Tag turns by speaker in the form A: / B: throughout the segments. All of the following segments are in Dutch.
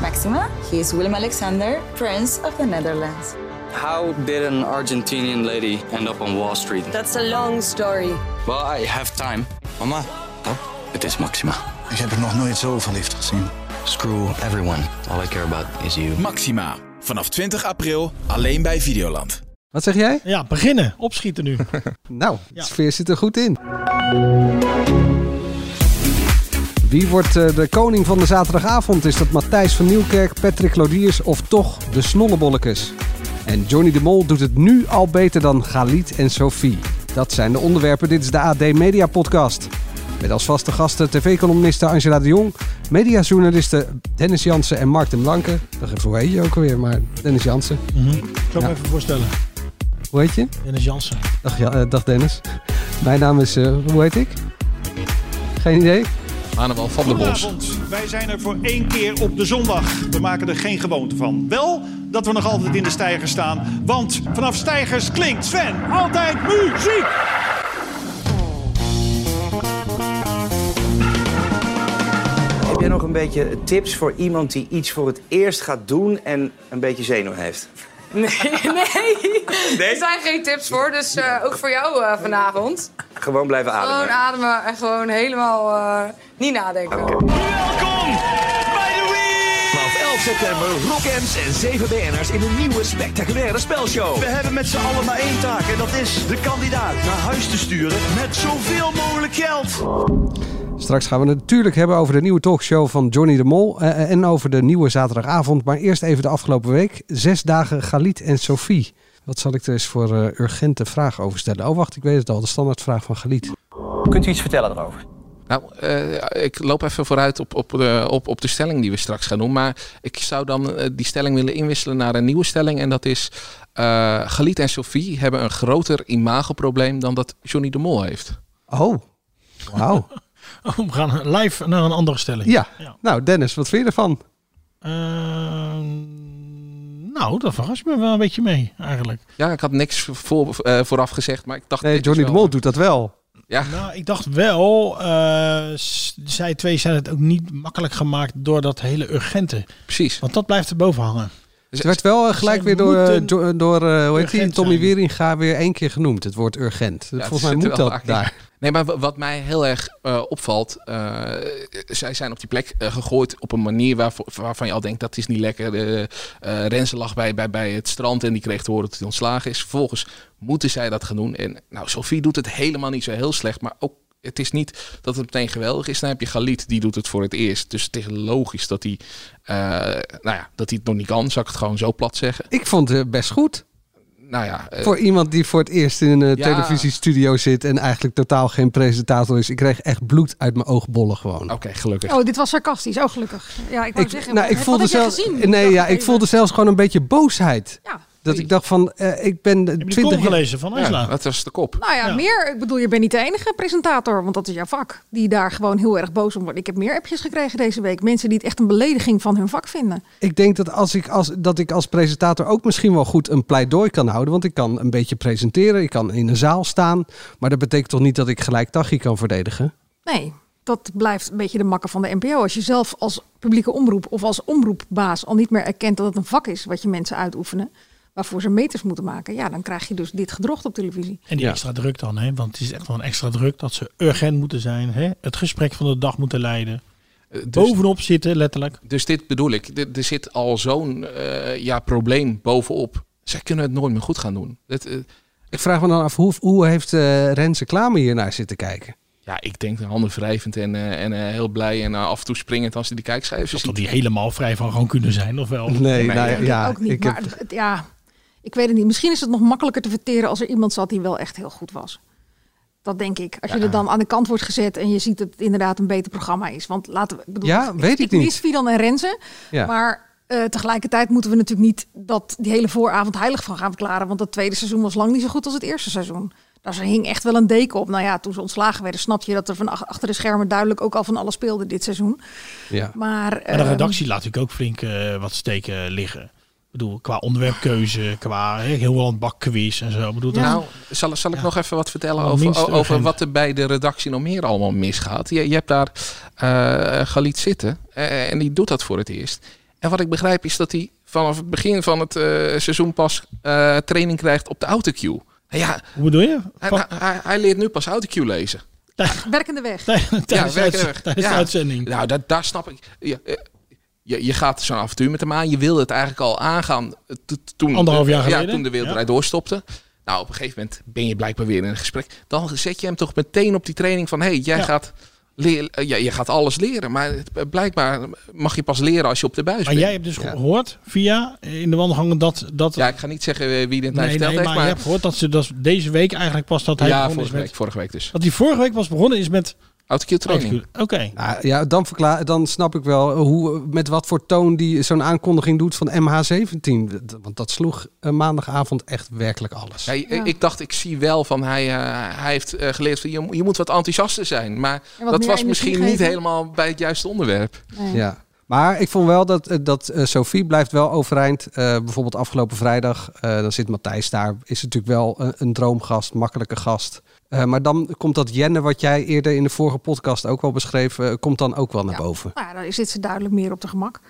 A: Maxima. He is Willem Alexander, Prince of the Netherlands.
B: How did an Argentinian lady end up on Wall Street?
C: That's a long story.
B: Well, I have time.
D: Mama,
B: Het is Maxima.
E: Ik heb er nog nooit zo verliefd gezien.
B: Screw everyone. All I care about is you.
F: Maxima. Vanaf 20 april alleen bij Videoland.
G: Wat zeg jij?
H: Ja, beginnen. Opschieten nu.
G: Nou, de
H: Ja.
G: sfeer zit er goed in. Wie wordt eh, de koning van de zaterdagavond? Is dat Matthijs van Nieuwkerk, Patrick Lodiers of toch de Snollebollekes? En Johnny de Mol doet het nu al beter dan Galit en Sophie. Dat zijn de onderwerpen. Dit is de AD Media Podcast. Met als vaste gasten tv-columniste Angela de Jong, mediajournalisten Dennis Jansen en Mark de Blanke. Dat geeft hoe heet je ook alweer, maar Dennis Jansen.
H: Ik zal me even voorstellen.
G: Hoe heet je?
H: Dennis Jansen.
G: Dag, ja, eh, dag Dennis. Mijn naam is, eh, hoe heet ik? Geen idee.
D: Manuel van der Bos.
I: Goedenavond, wij zijn er voor één keer op de zondag. We maken er geen gewoonte van. Wel dat we nog altijd in de stijger staan, want vanaf stijgers klinkt Sven altijd muziek.
J: Heb jij nog een beetje tips voor iemand die iets voor het eerst gaat doen en een beetje zenuw heeft?
C: Nee, nee. Er zijn geen tips voor, dus eh, ook voor jou eh, vanavond.
J: Gewoon blijven
C: Gewoon
J: ademen.
C: ademen en gewoon helemaal eh, niet nadenken.
I: Welkom bij de Wii.
F: Vanaf 11 september Rockams en 7 BN'ers in een nieuwe spectaculaire spelshow.
I: We hebben met z'n allen maar één taak en dat is de kandidaat naar huis te sturen met zoveel mogelijk geld.
G: Straks gaan we het natuurlijk hebben over de nieuwe talkshow van Johnny de Mol eh, eh, en over de nieuwe zaterdagavond. Maar eerst even de afgelopen week. Zes dagen Galit en Sophie. Wat zal ik er eens voor eh, urgente vraag over stellen? Oh, wacht, ik weet het al. De standaardvraag van Galit.
J: Kunt u iets vertellen erover?
D: Nou, eh, ik loop even vooruit op, op, de, op, op de stelling die we straks gaan doen. Maar ik zou dan eh, die stelling willen inwisselen naar een nieuwe stelling. En dat is, eh Galit en Sophie hebben een groter imagoprobleem dan dat Johnny de Mol heeft.
G: Oh, wauw.
H: Oh, we gaan live naar een andere stelling.
G: Ja.
H: Ja.
G: Nou, Dennis, wat vind je ervan?
H: Ehm, nou, dat verrast me wel een beetje mee, eigenlijk.
D: Ja, ik had niks voor, eh, vooraf gezegd, maar ik dacht...
G: Nee,
D: dit is
G: Johnny de
D: wel-
G: Mol doet dat wel.
D: Ja,
H: Nou, ik dacht wel, eh, s- zij twee zijn het ook niet makkelijk gemaakt door dat hele urgente.
D: precies.
H: Want dat blijft er boven hangen.
G: Het werd wel eh, gelijk
H: Zij
G: weer door, eh,
H: moeten
G: jo- door eh, hoe heet die,
H: urgent
G: Tommy
H: zijn.
G: Wieringa weer één keer genoemd. Het woord urgent.
D: het
G: Volgens mij
D: zit er
G: moet
D: wel
G: dat
D: vaak in.
G: daar.
D: Nee, maar wa- wat mij heel erg eh, opvalt, eh, zij zijn op die plek eh, gegooid op een manier waarvo- waarvan je al denkt dat is niet lekker. Eh eh, Renze lag bij, bij, bij het strand en die kreeg te horen dat hij ontslagen is. Vervolgens moeten zij dat gaan doen. En nou, Sophie doet het helemaal niet zo heel slecht, maar ook het is niet dat het meteen geweldig is. Dan heb je Galit, die doet het voor het eerst. Dus het is logisch dat hij, eh, nou ja, dat hij het nog niet kan. Zal ik het gewoon zo plat zeggen?
G: Ik vond het best goed.
D: Nou ja, eh,
G: voor iemand die voor het eerst in een eh,
D: Ja.
G: televisiestudio zit en eigenlijk totaal geen presentator is. Ik kreeg echt bloed uit mijn oogbollen gewoon.
D: oké, gelukkig.
K: Oh, dit was sarcastisch. Oh, gelukkig. Ja, ik wou zeggen.
G: nou, ik
K: wat
G: voelde
K: heb jij
G: zelfs,
K: gezien?
G: nee,
K: Dacht
G: ja, ik
K: even.
G: voelde zelfs gewoon een beetje boosheid.
K: Ja.
G: Dat ik dacht van, eh, ik ben
H: Heb je de column
G: 20 jaar...
H: gelezen van Angela?
D: Ja, dat was de kop.
K: Nou ja,
H: Ja.
K: meer. Ik bedoel, je bent niet de enige presentator, want dat is jouw vak. Die daar gewoon heel erg boos om wordt. Ik heb meer appjes gekregen deze week. Mensen die het echt een belediging van hun vak vinden.
G: Ik denk dat, als ik als, dat ik als presentator ook misschien wel goed een pleidooi kan houden. Want ik kan een beetje presenteren, ik kan in een zaal staan. Maar dat betekent toch niet dat ik gelijk Tachi kan verdedigen?
K: Nee, dat blijft een beetje de makker van de NPO. Als je zelf als publieke omroep of als omroepbaas al niet meer erkent dat het een vak is wat je mensen uitoefenen. Waarvoor ze meters moeten maken. Ja, dan krijg je dus dit gedrocht op televisie.
H: En die
G: Ja.
H: extra druk dan, hè? want het is echt wel een extra druk dat ze urgent moeten zijn. Hè? Het gesprek van de dag moeten leiden.
D: Eh, dus-
H: Bovenop zitten, letterlijk.
D: Dus dit bedoel ik. Er, er zit al zo'n eh, ja, probleem bovenop. Zij kunnen het nooit meer goed gaan doen. Het, eh,
G: Ik vraag me dan af, hoe, hoe heeft eh Renze Klamer hiernaar zitten kijken?
D: ja, ik denk de handen wrijvend en, eh, en eh, heel blij en eh, af en toe springend als ze die kijkcijfers
H: Of dat
D: ziet.
H: die helemaal vrij van gewoon kunnen zijn, of wel?
G: Nee, nou ja,
K: Ik ook niet,
G: ik heb
K: maar het- ja, ik weet het niet. Misschien is het nog makkelijker te verteren als er iemand zat die wel echt heel goed was. Dat denk ik. Als je er dan aan de kant wordt gezet en je ziet dat het inderdaad een beter programma is. Want laten we. ik Bedoel,
G: Ja, weet ik niet.
K: mis Fidan en Renze.
G: Ja.
K: Maar eh, tegelijkertijd moeten we natuurlijk niet dat die hele vooravond heilig van gaan verklaren. Want dat tweede seizoen was lang niet zo goed als het eerste seizoen. Daar ze hing echt wel een deken op. Nou ja, toen ze ontslagen werden, snap je dat er van ach- achter de schermen duidelijk ook al van alles speelde dit seizoen.
G: Ja.
K: Maar,
H: Maar de
K: ehm,
H: redactie laat natuurlijk ook flink eh, wat steken liggen. Ik bedoel, qua onderwerpkeuze, qua hè, heel Holland bakquiz en zo. Ik bedoel, dat-
D: Nou, zal, zal ik nog even wat vertellen
H: Nou,
D: over,
H: minst
D: o- over
H: urgent.
D: wat er bij de redactie nog meer allemaal misgaat? Je, je hebt daar eh Galit zitten eh, en die doet dat voor het eerst. En wat ik begrijp is dat hij vanaf het begin van het eh, seizoen pas eh, training krijgt op de autocue. Nou ja,
I: Hoe bedoel je?
D: hij, hij, hij leert nu pas autocue lezen.
J: Werkende weg.
I: Tijdens,
D: ja,
I: de,
D: werken
I: uitz-
D: weg.
I: tijdens de
D: Ja.
I: uitzending.
D: Nou, dat, daar snap ik. Ja, eh, je, je gaat zo'n avontuur met hem aan. Je wilde het eigenlijk al aangaan eh, to- toen,
I: Anderhalf jaar
D: ja,
I: geleden.
D: toen de wereldrijd
I: Ja.
D: doorstopte. Nou, op een gegeven moment ben je blijkbaar weer in een gesprek. Dan zet je hem toch meteen op die training van... hé, hey, jij
I: Ja.
D: gaat... leer- eh, ja, je gaat alles leren, maar het- eh, blijkbaar mag je pas leren als je op de buis
I: Maar
D: bent.
I: jij hebt dus gehoord via eh, in de wandelgangen dat... dat
D: Ja, ik ga niet zeggen eh, wie dit mij
I: nee,
D: verteld
I: nee, maar,
D: heeft,
I: je
D: maar...
I: hebt gehoord dat ze dat deze week eigenlijk pas dat hij
D: ja,
I: begonnen is
D: vorige
I: met...
D: week, vorige week dus.
I: Dat hij vorige week pas begonnen is met...
D: Autocue training.
I: Oké.
G: Ah, ja, dan, verklaar, dan snap ik wel eh, hoe, met wat voor toon die zo'n aankondiging doet van MH17. Want dat sloeg eh, maandagavond echt werkelijk alles.
D: Ja, ik- Ik dacht, ik zie wel van hij, eh, hij heeft eh, geleerd van je, je moet wat enthousiaster zijn. Maar
J: En wat
D: dat
J: meer
D: was
J: energie
D: misschien niet
J: geven.
D: helemaal bij het juiste onderwerp.
J: Nee.
G: Ja. Maar ik vond wel dat, eh, dat eh, Sophie blijft wel overeind. Eh, bijvoorbeeld afgelopen vrijdag, eh, dan zit Matthijs daar. Is natuurlijk wel een, een droomgast, makkelijke gast. Eh, maar dan komt dat Jenne, wat jij eerder in de vorige podcast ook wel beschreef, eh, komt dan ook wel naar boven.
J: Nou ja, dan zit ze duidelijk meer op de gemak.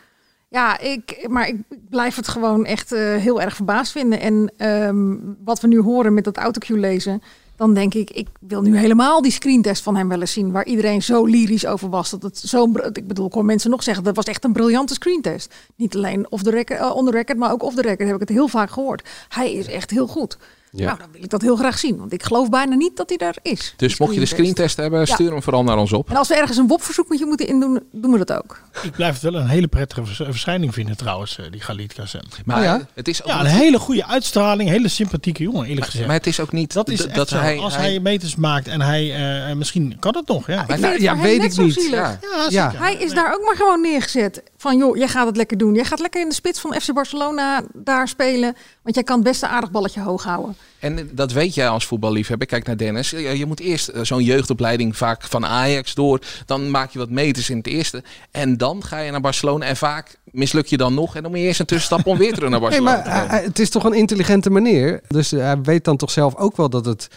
J: Ja, ik, maar ik blijf het gewoon echt eh, heel erg verbaasd vinden. En ehm, wat we nu horen met dat autocue lezen, dan denk ik, ik wil nu helemaal die screentest van hem wel eens zien. Waar iedereen zo lyrisch over was. Dat het zo'n, br- ik bedoel, ik hoor mensen nog zeggen, dat was echt een briljante screentest. Niet alleen off the record, eh, on the record, maar ook off the record heb ik het heel vaak gehoord. Hij is echt heel goed.
G: Ja.
J: Nou, dan wil ik dat heel graag zien, want ik geloof bijna niet dat hij daar is.
D: Dus mocht je de screentest hebben, stuur hem vooral naar ons op.
J: En als we ergens een WOP-verzoek met je moeten indoen, doen we dat ook.
I: Ik blijf het wel een hele prettige vers- verschijning vinden trouwens, eh, die Galit Kazem.
D: Maar
G: Oh ja?
D: het is ook
I: Ja, een
D: niet-
I: hele goede uitstraling, hele sympathieke jongen eerlijk gezegd.
D: maar het is ook niet
I: dat is
D: d-
I: echt zo.
D: hij,
I: Als hij, meters maakt en hij... eh, misschien kan dat nog, ja.
J: Ik
D: Nou,
J: vind het
G: ja,
J: voor hem
G: weet
J: net
G: ik
J: zo
G: niet.
J: zielig.
D: Ja.
I: Ja,
G: Ja.
I: zeker.
J: Hij is daar ook maar gewoon neergezet. Van joh, jij gaat het lekker doen. Jij gaat lekker in de spits van FC Barcelona daar spelen. Want jij kan best een aardig balletje hoog houden.
D: En dat weet jij als voetballiefhebber. Kijk naar Dennis. Je je moet eerst eh, zo'n jeugdopleiding vaak van Ajax door. Dan maak je wat meters in het eerste. En dan ga je naar Barcelona. En vaak misluk je dan nog. En dan moet je eerst een tussenstap om weer terug naar
G: Nee,
D: Barcelona
G: maar
D: te komen.
G: hij- hij- het is toch een intelligente meneer. Dus eh, hij weet dan toch zelf ook wel dat, het,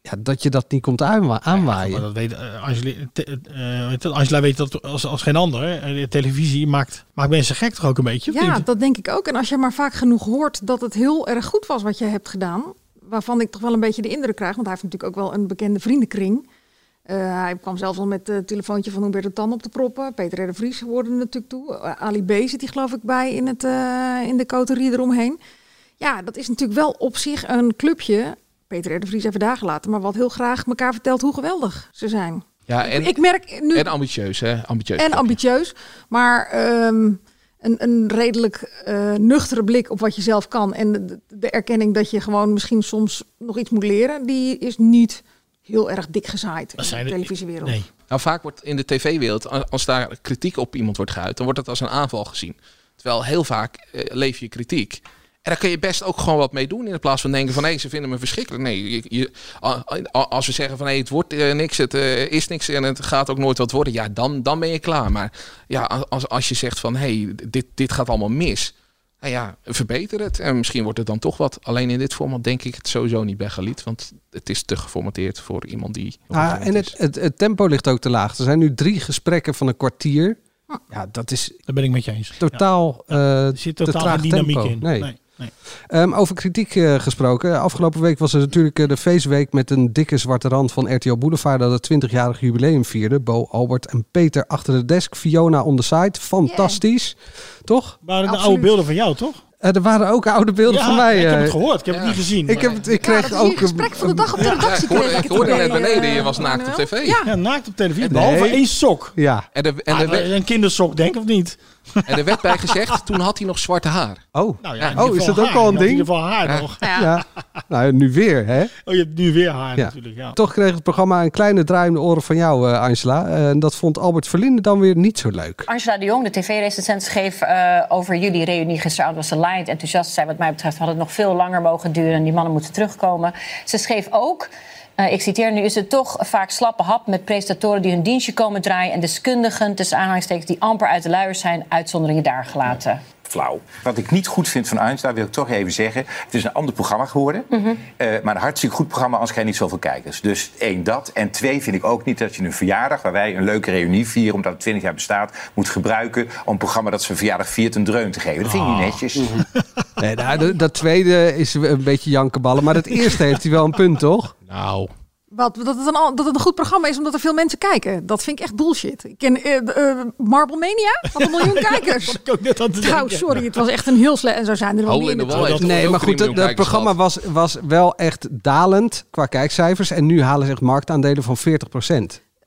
G: ja, dat je dat niet komt aanwa-
I: Maar
G: aanwaaien.
I: dat weet, eh, Angeli- te- eh, weet dat- Angela weet dat als, als geen ander. hè. Eh, de televisie maakt, maakt mensen gek toch ook een beetje? of
J: Ja,
I: niet?
J: dat denk ik ook. En als je maar vaak genoeg hoort dat het heel erg goed was wat je hebt gedaan. Waarvan ik toch wel een beetje de indruk krijg. Want hij heeft natuurlijk ook wel een bekende vriendenkring. Eh, hij kwam zelfs al met het telefoontje van Humberto Tan op de proppen. Peter R. de Vries hoorde er natuurlijk toe. Eh, Ali B. zit hij geloof ik bij in, het, eh, in de coterie eromheen. Ja, dat is natuurlijk wel op zich een clubje. Peter R. de Vries even daar gelaten. Maar wat heel graag elkaar vertelt hoe geweldig ze zijn.
D: ja, en,
J: ik merk nu
D: en ambitieus. Hè? ambitieus
J: en ambitieus, maar ehm, een, een redelijk eh, nuchtere blik op wat je zelf kan. En de, de erkenning dat je gewoon misschien soms nog iets moet leren, die is niet heel erg dik gezaaid in
I: Dat zijn
J: de
I: er-
J: televisiewereld.
I: Nee.
D: Nou, vaak wordt in de tv-wereld, a- als daar kritiek op iemand wordt geuit, dan wordt dat als een aanval gezien. Terwijl heel vaak eh, leef je kritiek. En daar kun je best ook gewoon wat mee doen. In plaats van denken van hé, ze vinden me verschrikkelijk. Nee, je, je- a- a- als we zeggen van hé, het wordt eh, niks, het eh, is niks en het gaat ook nooit wat worden. Ja, dan, dan ben je klaar. Maar ja, a- als, als je zegt van hé, dit, dit gaat allemaal mis. Nou ja, verbeter het. En misschien wordt het dan toch wat. Alleen in dit format denk ik het sowieso niet bij Galit. Want het is te geformateerd voor iemand die... nog
G: Ah,
D: niet gewend
G: en
D: is.
G: het, het, het tempo ligt ook te laag. Er zijn nu drie gesprekken van een kwartier.
J: Oh.
G: Ja, dat is
I: Daar ben ik met je eens. Ja.
G: totaal eh,
I: Er zit
G: te
I: totaal
G: traag
I: geen dynamiek
G: tempo.
I: in.
G: Nee.
I: Nee, nee.
G: Ehm, over kritiek eh, gesproken. Afgelopen week was er natuurlijk eh, de feestweek met een dikke zwarte rand van RTL Boulevard dat het 20-jarig jubileum vierde. Bo, Albert en Peter achter de desk. Fiona on the side. Fantastisch. Toch?
I: Maar de oude
J: Absoluut.
I: beelden van jou, toch?
G: Eh, er waren ook oude beelden
I: Ja,
G: van mij.
I: Ik heb
G: eh.
I: het gehoord, ik heb het niet gezien.
G: ik,
I: maar-
G: heb het, ik
J: Ja,
G: kreeg
J: dat is hier
G: ook
J: het gesprek van de dag op de
D: Ja,
J: redactie.
D: ik hoorde-
J: kreeg
D: ik hoorde
J: het
D: net
J: idee,
D: beneden,
J: eh,
D: je was naakt op
J: Manuel.
D: tv.
J: Ja,
I: Ja, naakt op televisie,
G: Nee.
I: behalve één sok.
G: Ja.
D: En er, en,
I: En
D: er werd,
I: een kindersok, denk ik, of niet?
D: en er werd bij gezegd, toen had hij nog zwarte haar.
G: Oh.
I: Nou ja, in
G: Oh,
I: ieder
G: is
I: geval
G: dat ook
I: haar.
G: al een
I: Je had In
G: ding?
I: ieder geval haar nog.
J: Nou ja,
G: Ja. nou, nu weer, hè?
I: Oh, je hebt nu weer haar
G: Ja.
I: natuurlijk, ja.
G: Toch kreeg het programma een kleine draai om de oren van jou, eh, Angela. En dat vond Albert Verlinde dan weer niet zo leuk.
K: Angela de Jong, de tv-recensent, schreef eh, over jullie reunie gisteravond. Was ze laaiend enthousiast. Zij, wat mij betreft, had het nog veel langer mogen duren. Die mannen moeten terugkomen. Ze schreef ook.
L: eh, ik citeer nu, is het toch vaak slappe hap met presentatoren die hun dienstje komen draaien en deskundigen, tussen aanhalingstekens, die amper uit de luiers zijn, uitzonderingen daar gelaten.
M: flauw. Wat ik niet goed vind van Einstein, wil ik toch even zeggen. Het is een ander programma geworden. eh, maar een hartstikke goed programma, anders krijg je niet zoveel kijkers. Dus één, dat. En twee, vind ik ook niet dat je een verjaardag... waar wij een leuke reunie vieren, omdat het 20 jaar bestaat... moet gebruiken om een programma dat zijn verjaardag viert een dreun te geven. Dat vind ik niet netjes.
G: Nee, nou, de- dat tweede is een beetje jankenballen. Maar dat eerste heeft hij wel een punt, toch? Nou.
K: Wat, dat, het een, al- dat het een goed programma is omdat er veel mensen kijken. Dat vind ik echt bullshit. Ik ken eh, eh, Marble Mania had een miljoen kijkers.
H: ik ook net aan te
K: Trouwens,
H: denken.
K: sorry, het was echt een heel slecht... En zo zijn er wel
D: Hole
K: meer
D: in the wall
K: natuurlijk.
D: heeft
G: Nee,
D: ook
G: maar
D: drie
G: goed, dat,
D: miljoen
G: dat programma was, was wel echt dalend qua kijkcijfers. En nu halen ze echt marktaandelen van 40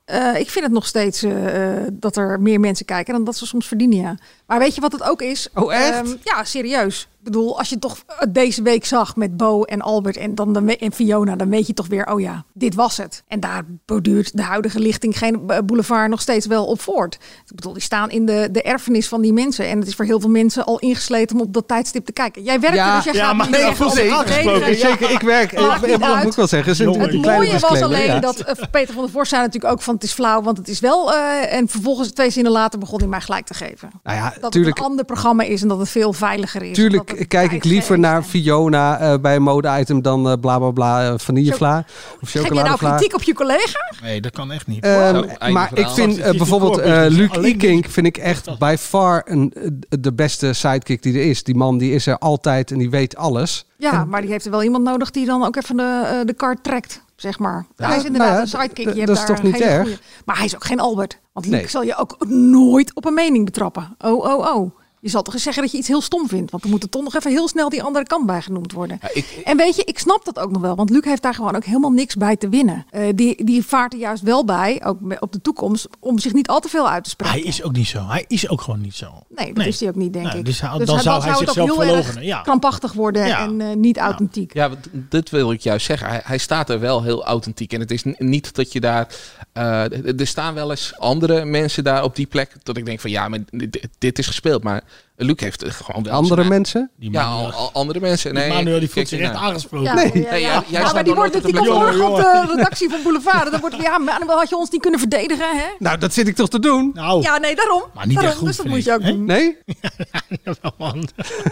K: Eh, ik vind het nog steeds eh, eh, dat er meer mensen kijken dan dat ze soms verdienen, ja. Maar weet je wat het ook is?
G: Oh, echt?
K: Ehm, ja, serieus. Ik bedoel, als je toch eh, deze week zag met Bo en Albert en, dan, dan, we- en Fiona... dan weet je toch weer, oh ja, dit was het. En daar borduurt de huidige lichting geen eh, boulevard nog steeds wel op voort. Ik bedoel, die staan in de, de erfenis van die mensen. En het is voor heel veel mensen al ingesleten om op dat tijdstip te kijken. Jij werkt er, dus jij gaat niet zeggen om het te
G: Zeker,
K: verdedigen.
G: zeker, ik werk.
K: Maakt
G: Ik,
K: niet
G: ik
K: uit.
G: moet ik wel zeggen, het is een,
K: Het
G: een kleine
K: mooie was
G: disclaimer,
K: alleen
G: ja.
K: dat eh, Peter van der Vorst zei natuurlijk ook van het is flauw, want het is wel. eh, en vervolgens twee zinnen later begon hij mij gelijk te geven.
G: Nou ja,
K: dat
G: tuurlijk-
K: het een ander programma is en dat het veel veiliger is.
G: Tuurlijk kijk ik liever naar Fiona eh, bij een mode-item dan eh, bla bla bla eh, vanillevla. Of
K: Geef je nou
G: chocoladevla.
K: kritiek op je collega?
H: Nee, dat kan echt niet.
M: Eh.
G: Ehm,
H: Zo, einde
G: maar ik
H: verhaal.
G: vind eh,
H: Het is
G: bijvoorbeeld
H: de
G: eh
H: core business.
G: Luc
H: Alleen
G: Ikink vind ik echt by far een, eh, de beste sidekick die er is. Die man die is er altijd en die weet alles.
K: Ja, maar die heeft er wel iemand nodig die dan ook even de, eh, de kaart trekt, zeg maar.
G: Ja,
K: hij is inderdaad
G: nou ja,
K: een sidekick.
G: d-
K: Je hebt
G: dat is
K: daar
G: toch niet
K: een hele
G: erg?
K: goeie. Maar hij is ook geen Albert. Want Luc
G: Nee.
K: zal je ook nooit op een mening betrappen. Oh, oh, oh. Je zal toch eens zeggen dat je iets heel stom vindt. Want dan moet er toch nog even heel snel die andere kant bij genoemd worden. En weet je, ik snap dat ook nog wel. Want Luc heeft daar gewoon ook helemaal niks bij te winnen. Eh, die, die vaart er juist wel bij, ook me- op de toekomst, om zich niet al te veel uit te spreken.
H: Hij is ook niet zo. Hij is ook gewoon niet zo.
K: Nee, dat
H: Nee.
K: is hij ook niet, denk
H: Nee,
K: ik.
H: dus hij- dan zou hij
K: het ook
H: zichzelf
K: heel erg
H: verloochenen, ja.
K: krampachtig worden
H: Ja.
K: en eh, niet authentiek.
D: Ja, want dit wil ik juist zeggen. Hij, hij staat er wel heel authentiek. En het is n- niet dat je daar. eh, d- er staan wel eens andere mensen daar op die plek. Dat ik denk van ja, maar dit, dit is gespeeld. Maar Luc heeft het gewoon wel.
G: Andere
D: zijn-
G: mensen?
D: Ja, al, al- andere mensen.
H: Die
D: Nee,
H: eh, Manuel, die voelt
D: kijk
H: zich
D: hiernaar.
H: echt aangesproken.
K: Ja,
D: Nee,
K: ja,
D: nee,
K: ja.
D: jij- jij
K: Ja, maar
D: staat
K: die,
D: dan
K: wordt,
D: altijd
K: die
D: een
K: komt
D: beetje-
K: morgen op de redactie van Boulevard. Dan wordt weer, ja, maar had je ons niet kunnen verdedigen, hè?
G: Nou, dat zit ik toch te doen?
H: Nou,
K: Ja, nee, daarom.
D: Maar niet echt
K: daarom.
D: goed,
K: dus dat
D: vind
K: moet je ook doen.
G: Nee?
H: nou,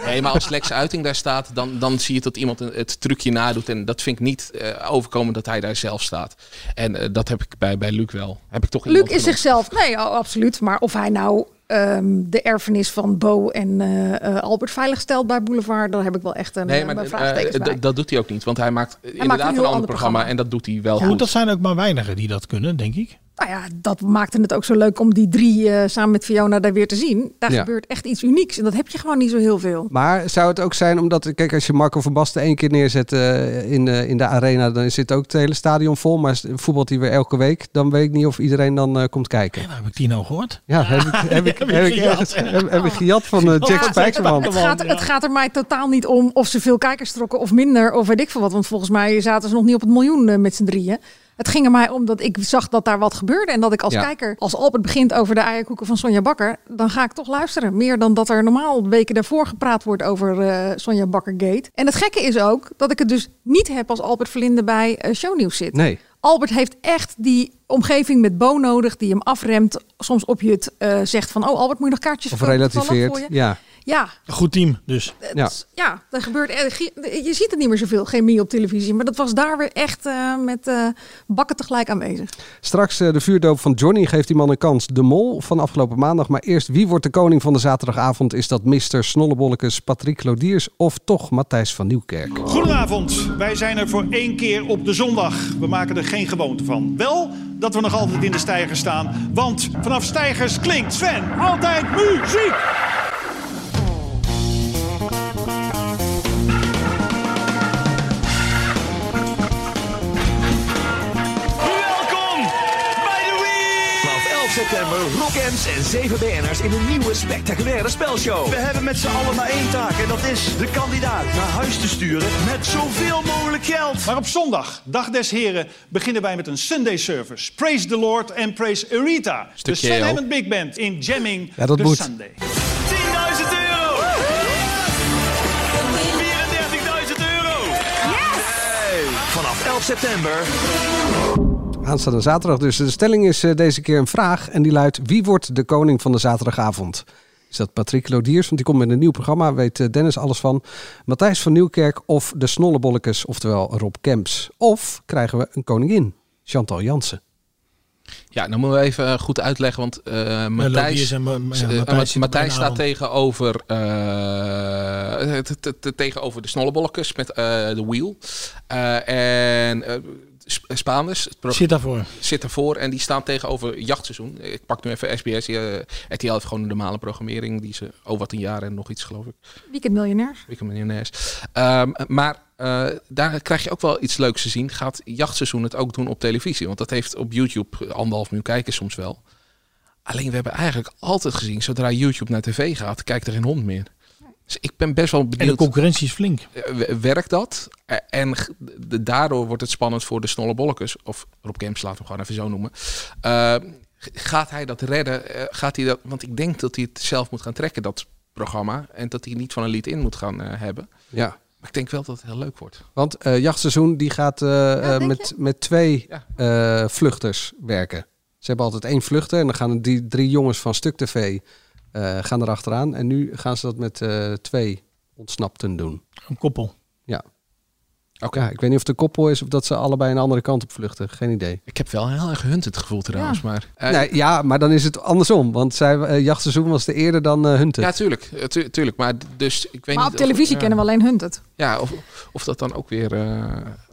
D: Nee, maar als Lex Uiting daar staat, dan, dan zie je dat iemand een- het trucje nadoet. En dat vind ik niet eh, overkomen dat hij daar zelf staat. En eh, dat heb ik bij, bij Luc wel. Heb ik toch
K: Luc
D: iemand
K: is
D: genoemd.
K: zichzelf. Nee, oh, absoluut. Maar of hij nou ehm, de erfenis van Bo en eh, eh, Albert veiligstelt bij Boulevard, daar heb ik wel echt een,
D: Nee,
K: eh,
D: maar
K: mijn
D: eh,
K: vraagtekens
D: eh,
K: bij.
D: d- dat doet hij ook niet. Want hij maakt eh, inderdaad
K: een
D: een,
K: heel
D: ander
K: ander
D: programma.
K: programma.
D: En dat doet hij wel
H: Goed,
D: goed.
H: dat zijn ook maar weinigen die dat kunnen, denk ik.
K: Nou ja, dat maakte het ook zo leuk om die drie eh, samen met Fiona daar weer te zien. Daar
G: Ja.
K: gebeurt echt iets unieks en dat heb je gewoon niet zo heel veel.
G: Maar zou het ook zijn omdat, kijk, als je Marco van Basten één keer neerzet eh, in, eh, in de arena, dan zit ook het hele stadion vol. Maar voetbalt hij weer elke week, dan weet ik niet of iedereen dan eh, komt kijken.
H: Heb ik die nou gehoord?
G: Ja, heb ik, heb ik,
H: Heb
G: heb
H: je
G: ik,
H: gejat,
G: ergens-
H: hè?
G: heb, heb ik
K: Oh.
G: gejat van eh, Jack
K: Ja,
G: Spijkerman.
K: Het gaat, het gaat er mij totaal niet om of ze veel kijkers trokken of minder of weet ik veel wat. Want volgens mij zaten ze nog niet op het miljoen eh, met z'n drieën. Het ging er mij om dat ik zag dat daar wat gebeurde. En dat ik als
G: Ja.
K: kijker, als Albert begint over de eierkoeken van Sonja Bakker, dan ga ik toch luisteren. Meer dan dat er normaal weken daarvoor gepraat wordt over eh Sonja Bakker-gate. En het gekke is ook dat ik het dus niet heb als Albert Verlinde bij eh, Shownieuws zit.
G: Nee.
K: Albert heeft echt die omgeving met Bo nodig, die hem afremt. Soms op je het eh, zegt van, oh Albert, moet je nog kaartjes
G: Of
K: kopen? Toevallig
G: relativeerd.
K: voor je?
G: Ja.
K: Ja,
H: Een goed team, dus.
G: ja.
K: ja, er gebeurt erg- Je ziet het niet meer zoveel, chemie op televisie. Maar dat was daar weer echt eh, met eh, bakken tegelijk aanwezig.
G: Straks eh, de vuurdoop van Johnny geeft die man een kans. De Mol van afgelopen maandag. Maar eerst, wie wordt de koning van de zaterdagavond? Is dat Mr. Snollebollekes, Patrick Lodiers of toch Matthijs van Nieuwkerk?
I: Goedenavond, wij zijn er voor één keer op de zondag. We maken er geen gewoonte van. Wel dat we nog altijd in de stijger staan, want vanaf stijgers klinkt Sven altijd muziek.
F: Welkom bij de Wii! Vanaf 11 september Rockams en 7 BN'ers in een nieuwe spectaculaire spelshow.
E: We hebben met z'n allen maar één taak en dat is de kandidaat naar huis te sturen met zoveel mogelijk geld.
I: Maar op zondag, dag des heren, beginnen wij met een Sunday service. Praise the Lord en praise Arita. De
D: Stukje
I: Sven
D: heel.
I: Hammond Big Band in Jamming
G: Ja, dat
I: the
G: moet.
I: Sunday.
F: 10.000 euro! 34.000 euro! Yes! Vanaf 11
N: september.
G: Aanstaande zaterdag dus. De stelling is eh, deze keer een vraag en die luidt... Wie wordt de koning van de zaterdagavond? Is dat Patrick Lodiers? Want die komt met een nieuw programma, weet eh, Dennis alles van. Matthijs van Nieuwkerk of de Snollebollekes, oftewel Rob Kemps. Of krijgen we een koningin, Chantal Jansen.
D: Ja, dan moeten we even eh, goed uitleggen, want eh,
I: Lodiers
D: Matthijs
I: en Ma- ja,
D: eh,
I: Matthijs
D: eh,
I: zit
D: Matthijs
I: bijna
D: staat
I: aan.
D: tegenover, eh, t- t- t- tegenover de snollebollekes met eh, de wheel. Eh, en eh, Sp- Spaanders het pro-
I: Zit daarvoor.
D: zit daarvoor en die staan tegenover jachtseizoen. Ik pak nu even SBS. eh, RTL heeft gewoon de normale programmering. Die ze over tien jaar en nog iets, geloof ik.
K: Weekend miljonairs.
D: Weekend Miljonairs. Ehm, maar eh, daar krijg je ook wel iets leuks te zien. Gaat jachtseizoen het ook doen op televisie? Want dat heeft op YouTube anderhalf miljoen kijkers soms wel. Alleen we hebben eigenlijk altijd gezien, zodra YouTube naar tv gaat, kijkt er geen hond meer. Dus ik ben best wel
I: En de
D: benieuwd.
I: concurrentie is flink.
D: eh, w- Werkt dat? Eh, En g- de- daardoor wordt het spannend voor de snolle bollekes. Of Rob Kemps, laten we hem gewoon even zo noemen. Eh, g- gaat hij dat redden? Eh, gaat hij dat, want ik denk dat hij het zelf moet gaan trekken, dat programma. En dat hij niet van een lied in moet gaan eh, hebben.
G: Ja.
D: Maar ik denk wel dat het heel leuk wordt.
G: Want eh jachtseizoen die gaat eh, eh, met, met twee eh, vluchters werken. Ze hebben altijd één vluchter en dan gaan die drie jongens van Stuk TV eh gaan erachteraan. En nu gaan ze dat met eh, twee ontsnapten doen.
I: Een koppel.
G: Ja. Oké, ik weet niet of de koppel is of dat ze allebei een andere kant op vluchten. Geen idee.
D: Ik heb wel heel erg hunt het gevoel trouwens, maar... eh,
G: nee, ja, maar dan is het andersom. Want zij, eh, jachtseizoen was de eerder dan eh Hunter.
D: Ja, tuurlijk. eh, tu- tuurlijk. Maar d- dus, ik weet
K: Maar
D: niet
K: op televisie
D: of, ja.
K: kennen we alleen hun het.
D: Ja, of, of dat dan ook weer... eh,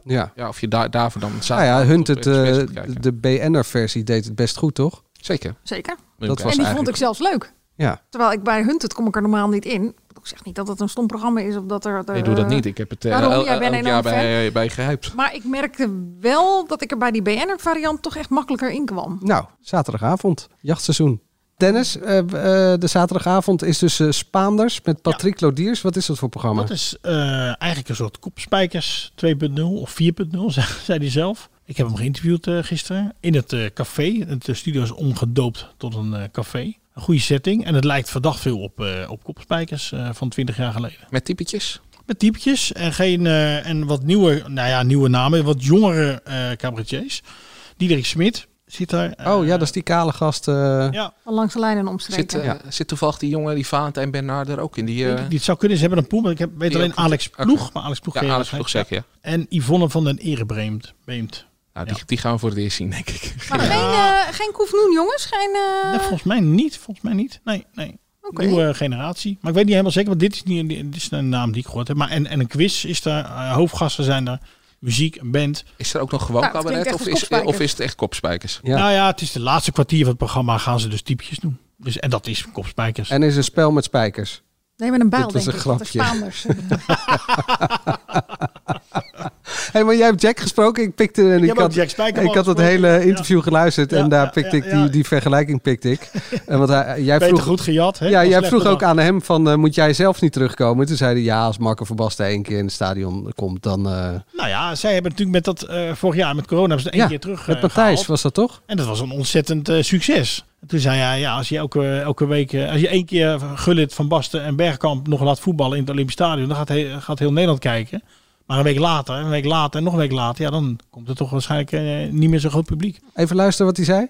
G: Ja.
D: ja, of je daar daarvoor dan...
G: Nou ja,
D: zaterdag
G: Hunter,
D: op SBS moet
G: eh,
D: kijken.
G: de BN'er-versie deed het best goed, toch?
D: Zeker.
K: Zeker. en
G: Dat was
K: die vond ik
G: eigenlijk-
K: zelfs leuk.
G: Ja.
K: Terwijl ik bij Hunt het kom ik er normaal niet in. Ik zeg niet dat het een stom programma is of dat er. er
D: Nee, doe dat
K: eh,
D: niet. Ik heb het eh,
K: waarom?
D: el-
K: Jij bent
D: elk
K: een
D: jaar
K: enorm fan.
D: bij, bij gehyped.
K: Maar ik merkte wel dat ik er bij die BNR-variant toch echt makkelijker in kwam.
G: Nou, zaterdagavond, jachtseizoen. Dennis, eh, w- eh, de zaterdagavond is dus eh, Spaanders met Patrick Lodiers. Wat is dat voor programma?
I: Dat is eh, eigenlijk een soort kopspijkers 2.0 of 4.0, zei zei hij zelf. Ik heb hem geïnterviewd eh, gisteren in het eh, café. Het eh, studio is omgedoopt tot een eh, café. Een goede setting. En het lijkt verdacht veel op, eh, op kopspijkers eh, van 20 jaar geleden.
D: Met typetjes?
I: Met typetjes en, geen, eh, en wat nieuwe, nou ja, nieuwe namen. Wat jongere eh cabaretiers. Diederik Smit zit daar. eh,
G: oh ja, dat is die kale gast. eh,
I: Ja.
K: Van langs de lijn en
D: Zit,
K: omstreken.
D: eh, zit toevallig die jongen, die Valentijn Bernard, er ook in? Die, eh,
I: Denk ik die het zou kunnen. Ze hebben een pool, maar ik heb, weet
D: Die
I: alleen
D: ook goed.
I: Alex
D: Oké.
I: Ploeg. Maar Alex Ploeg
D: Ja,
I: ken je
D: Alex Ploeg
I: waarschijnlijk.
D: zeker,
I: En Yvonne van den Erebeemt. Beemt.
D: nou, die, die gaan we voor het eerst zien, denk ik.
K: Maar geen, eh geen Koefnoen, jongens. Geen, eh,
I: Nee, volgens mij niet. Volgens mij niet. Nee, nee.
K: Oké.
I: Nieuwe generatie. Maar ik weet niet helemaal zeker, want dit is, niet, dit is een naam die ik gehoord heb. Maar en, en een quiz is daar, eh, hoofdgasten zijn daar, muziek, een band.
D: Is er ook nog gewoon
K: Nou, het
D: cabaret
K: klinkt
D: of
K: echt
D: is,
K: als kopspijkers.
D: of is het echt kopspijkers?
I: Nou ja, het is de laatste kwartier van het programma gaan ze dus typetjes doen. Dus, en dat is kopspijkers.
G: En is een spel met spijkers.
K: Nee, met een bijl,
G: Dit was
K: denk
G: een
K: ik. want de
G: grapje.
K: Spaanders.
G: Hé, maar jij hebt Jack gesproken. Ik pikte en
I: Jij
G: ik
I: hebt ook
G: had,
I: Jack Spijkerman
G: ik had het
I: gesproken.
G: hele interview geluisterd en
I: Ja,
G: daar
I: ja,
G: pikte
I: ja,
G: ik die,
I: ja.
G: die vergelijking pikte ik. En want hij, jij
I: Beter
G: vroeg
I: goed gejat, hè?
G: Ja,
I: Dan
G: jij
I: slecht
G: vroeg ook
I: bedacht.
G: aan hem van eh, moet jij zelf niet terugkomen? Toen zei hij ja, als Marco van Basten één keer in het stadion komt, dan. eh,
I: Nou ja, zij hebben natuurlijk met dat eh, vorig jaar met corona hebben ze het één
G: ja,
I: keer terug
G: met
I: eh,
G: Matthijs
I: gehaald.
G: was dat toch?
I: En dat was een ontzettend eh, succes. En Toen zei hij, ja, als je elke, elke week, eh, als je één keer Gullit, Van Basten en Bergkamp nog laat voetballen in het Olympisch Stadion, dan gaat, he- gaat heel Nederland kijken. Maar een week later, een week later en nog een week later, ja, dan komt er toch waarschijnlijk eh, niet meer zo'n groot publiek.
G: Even luisteren wat hij zei.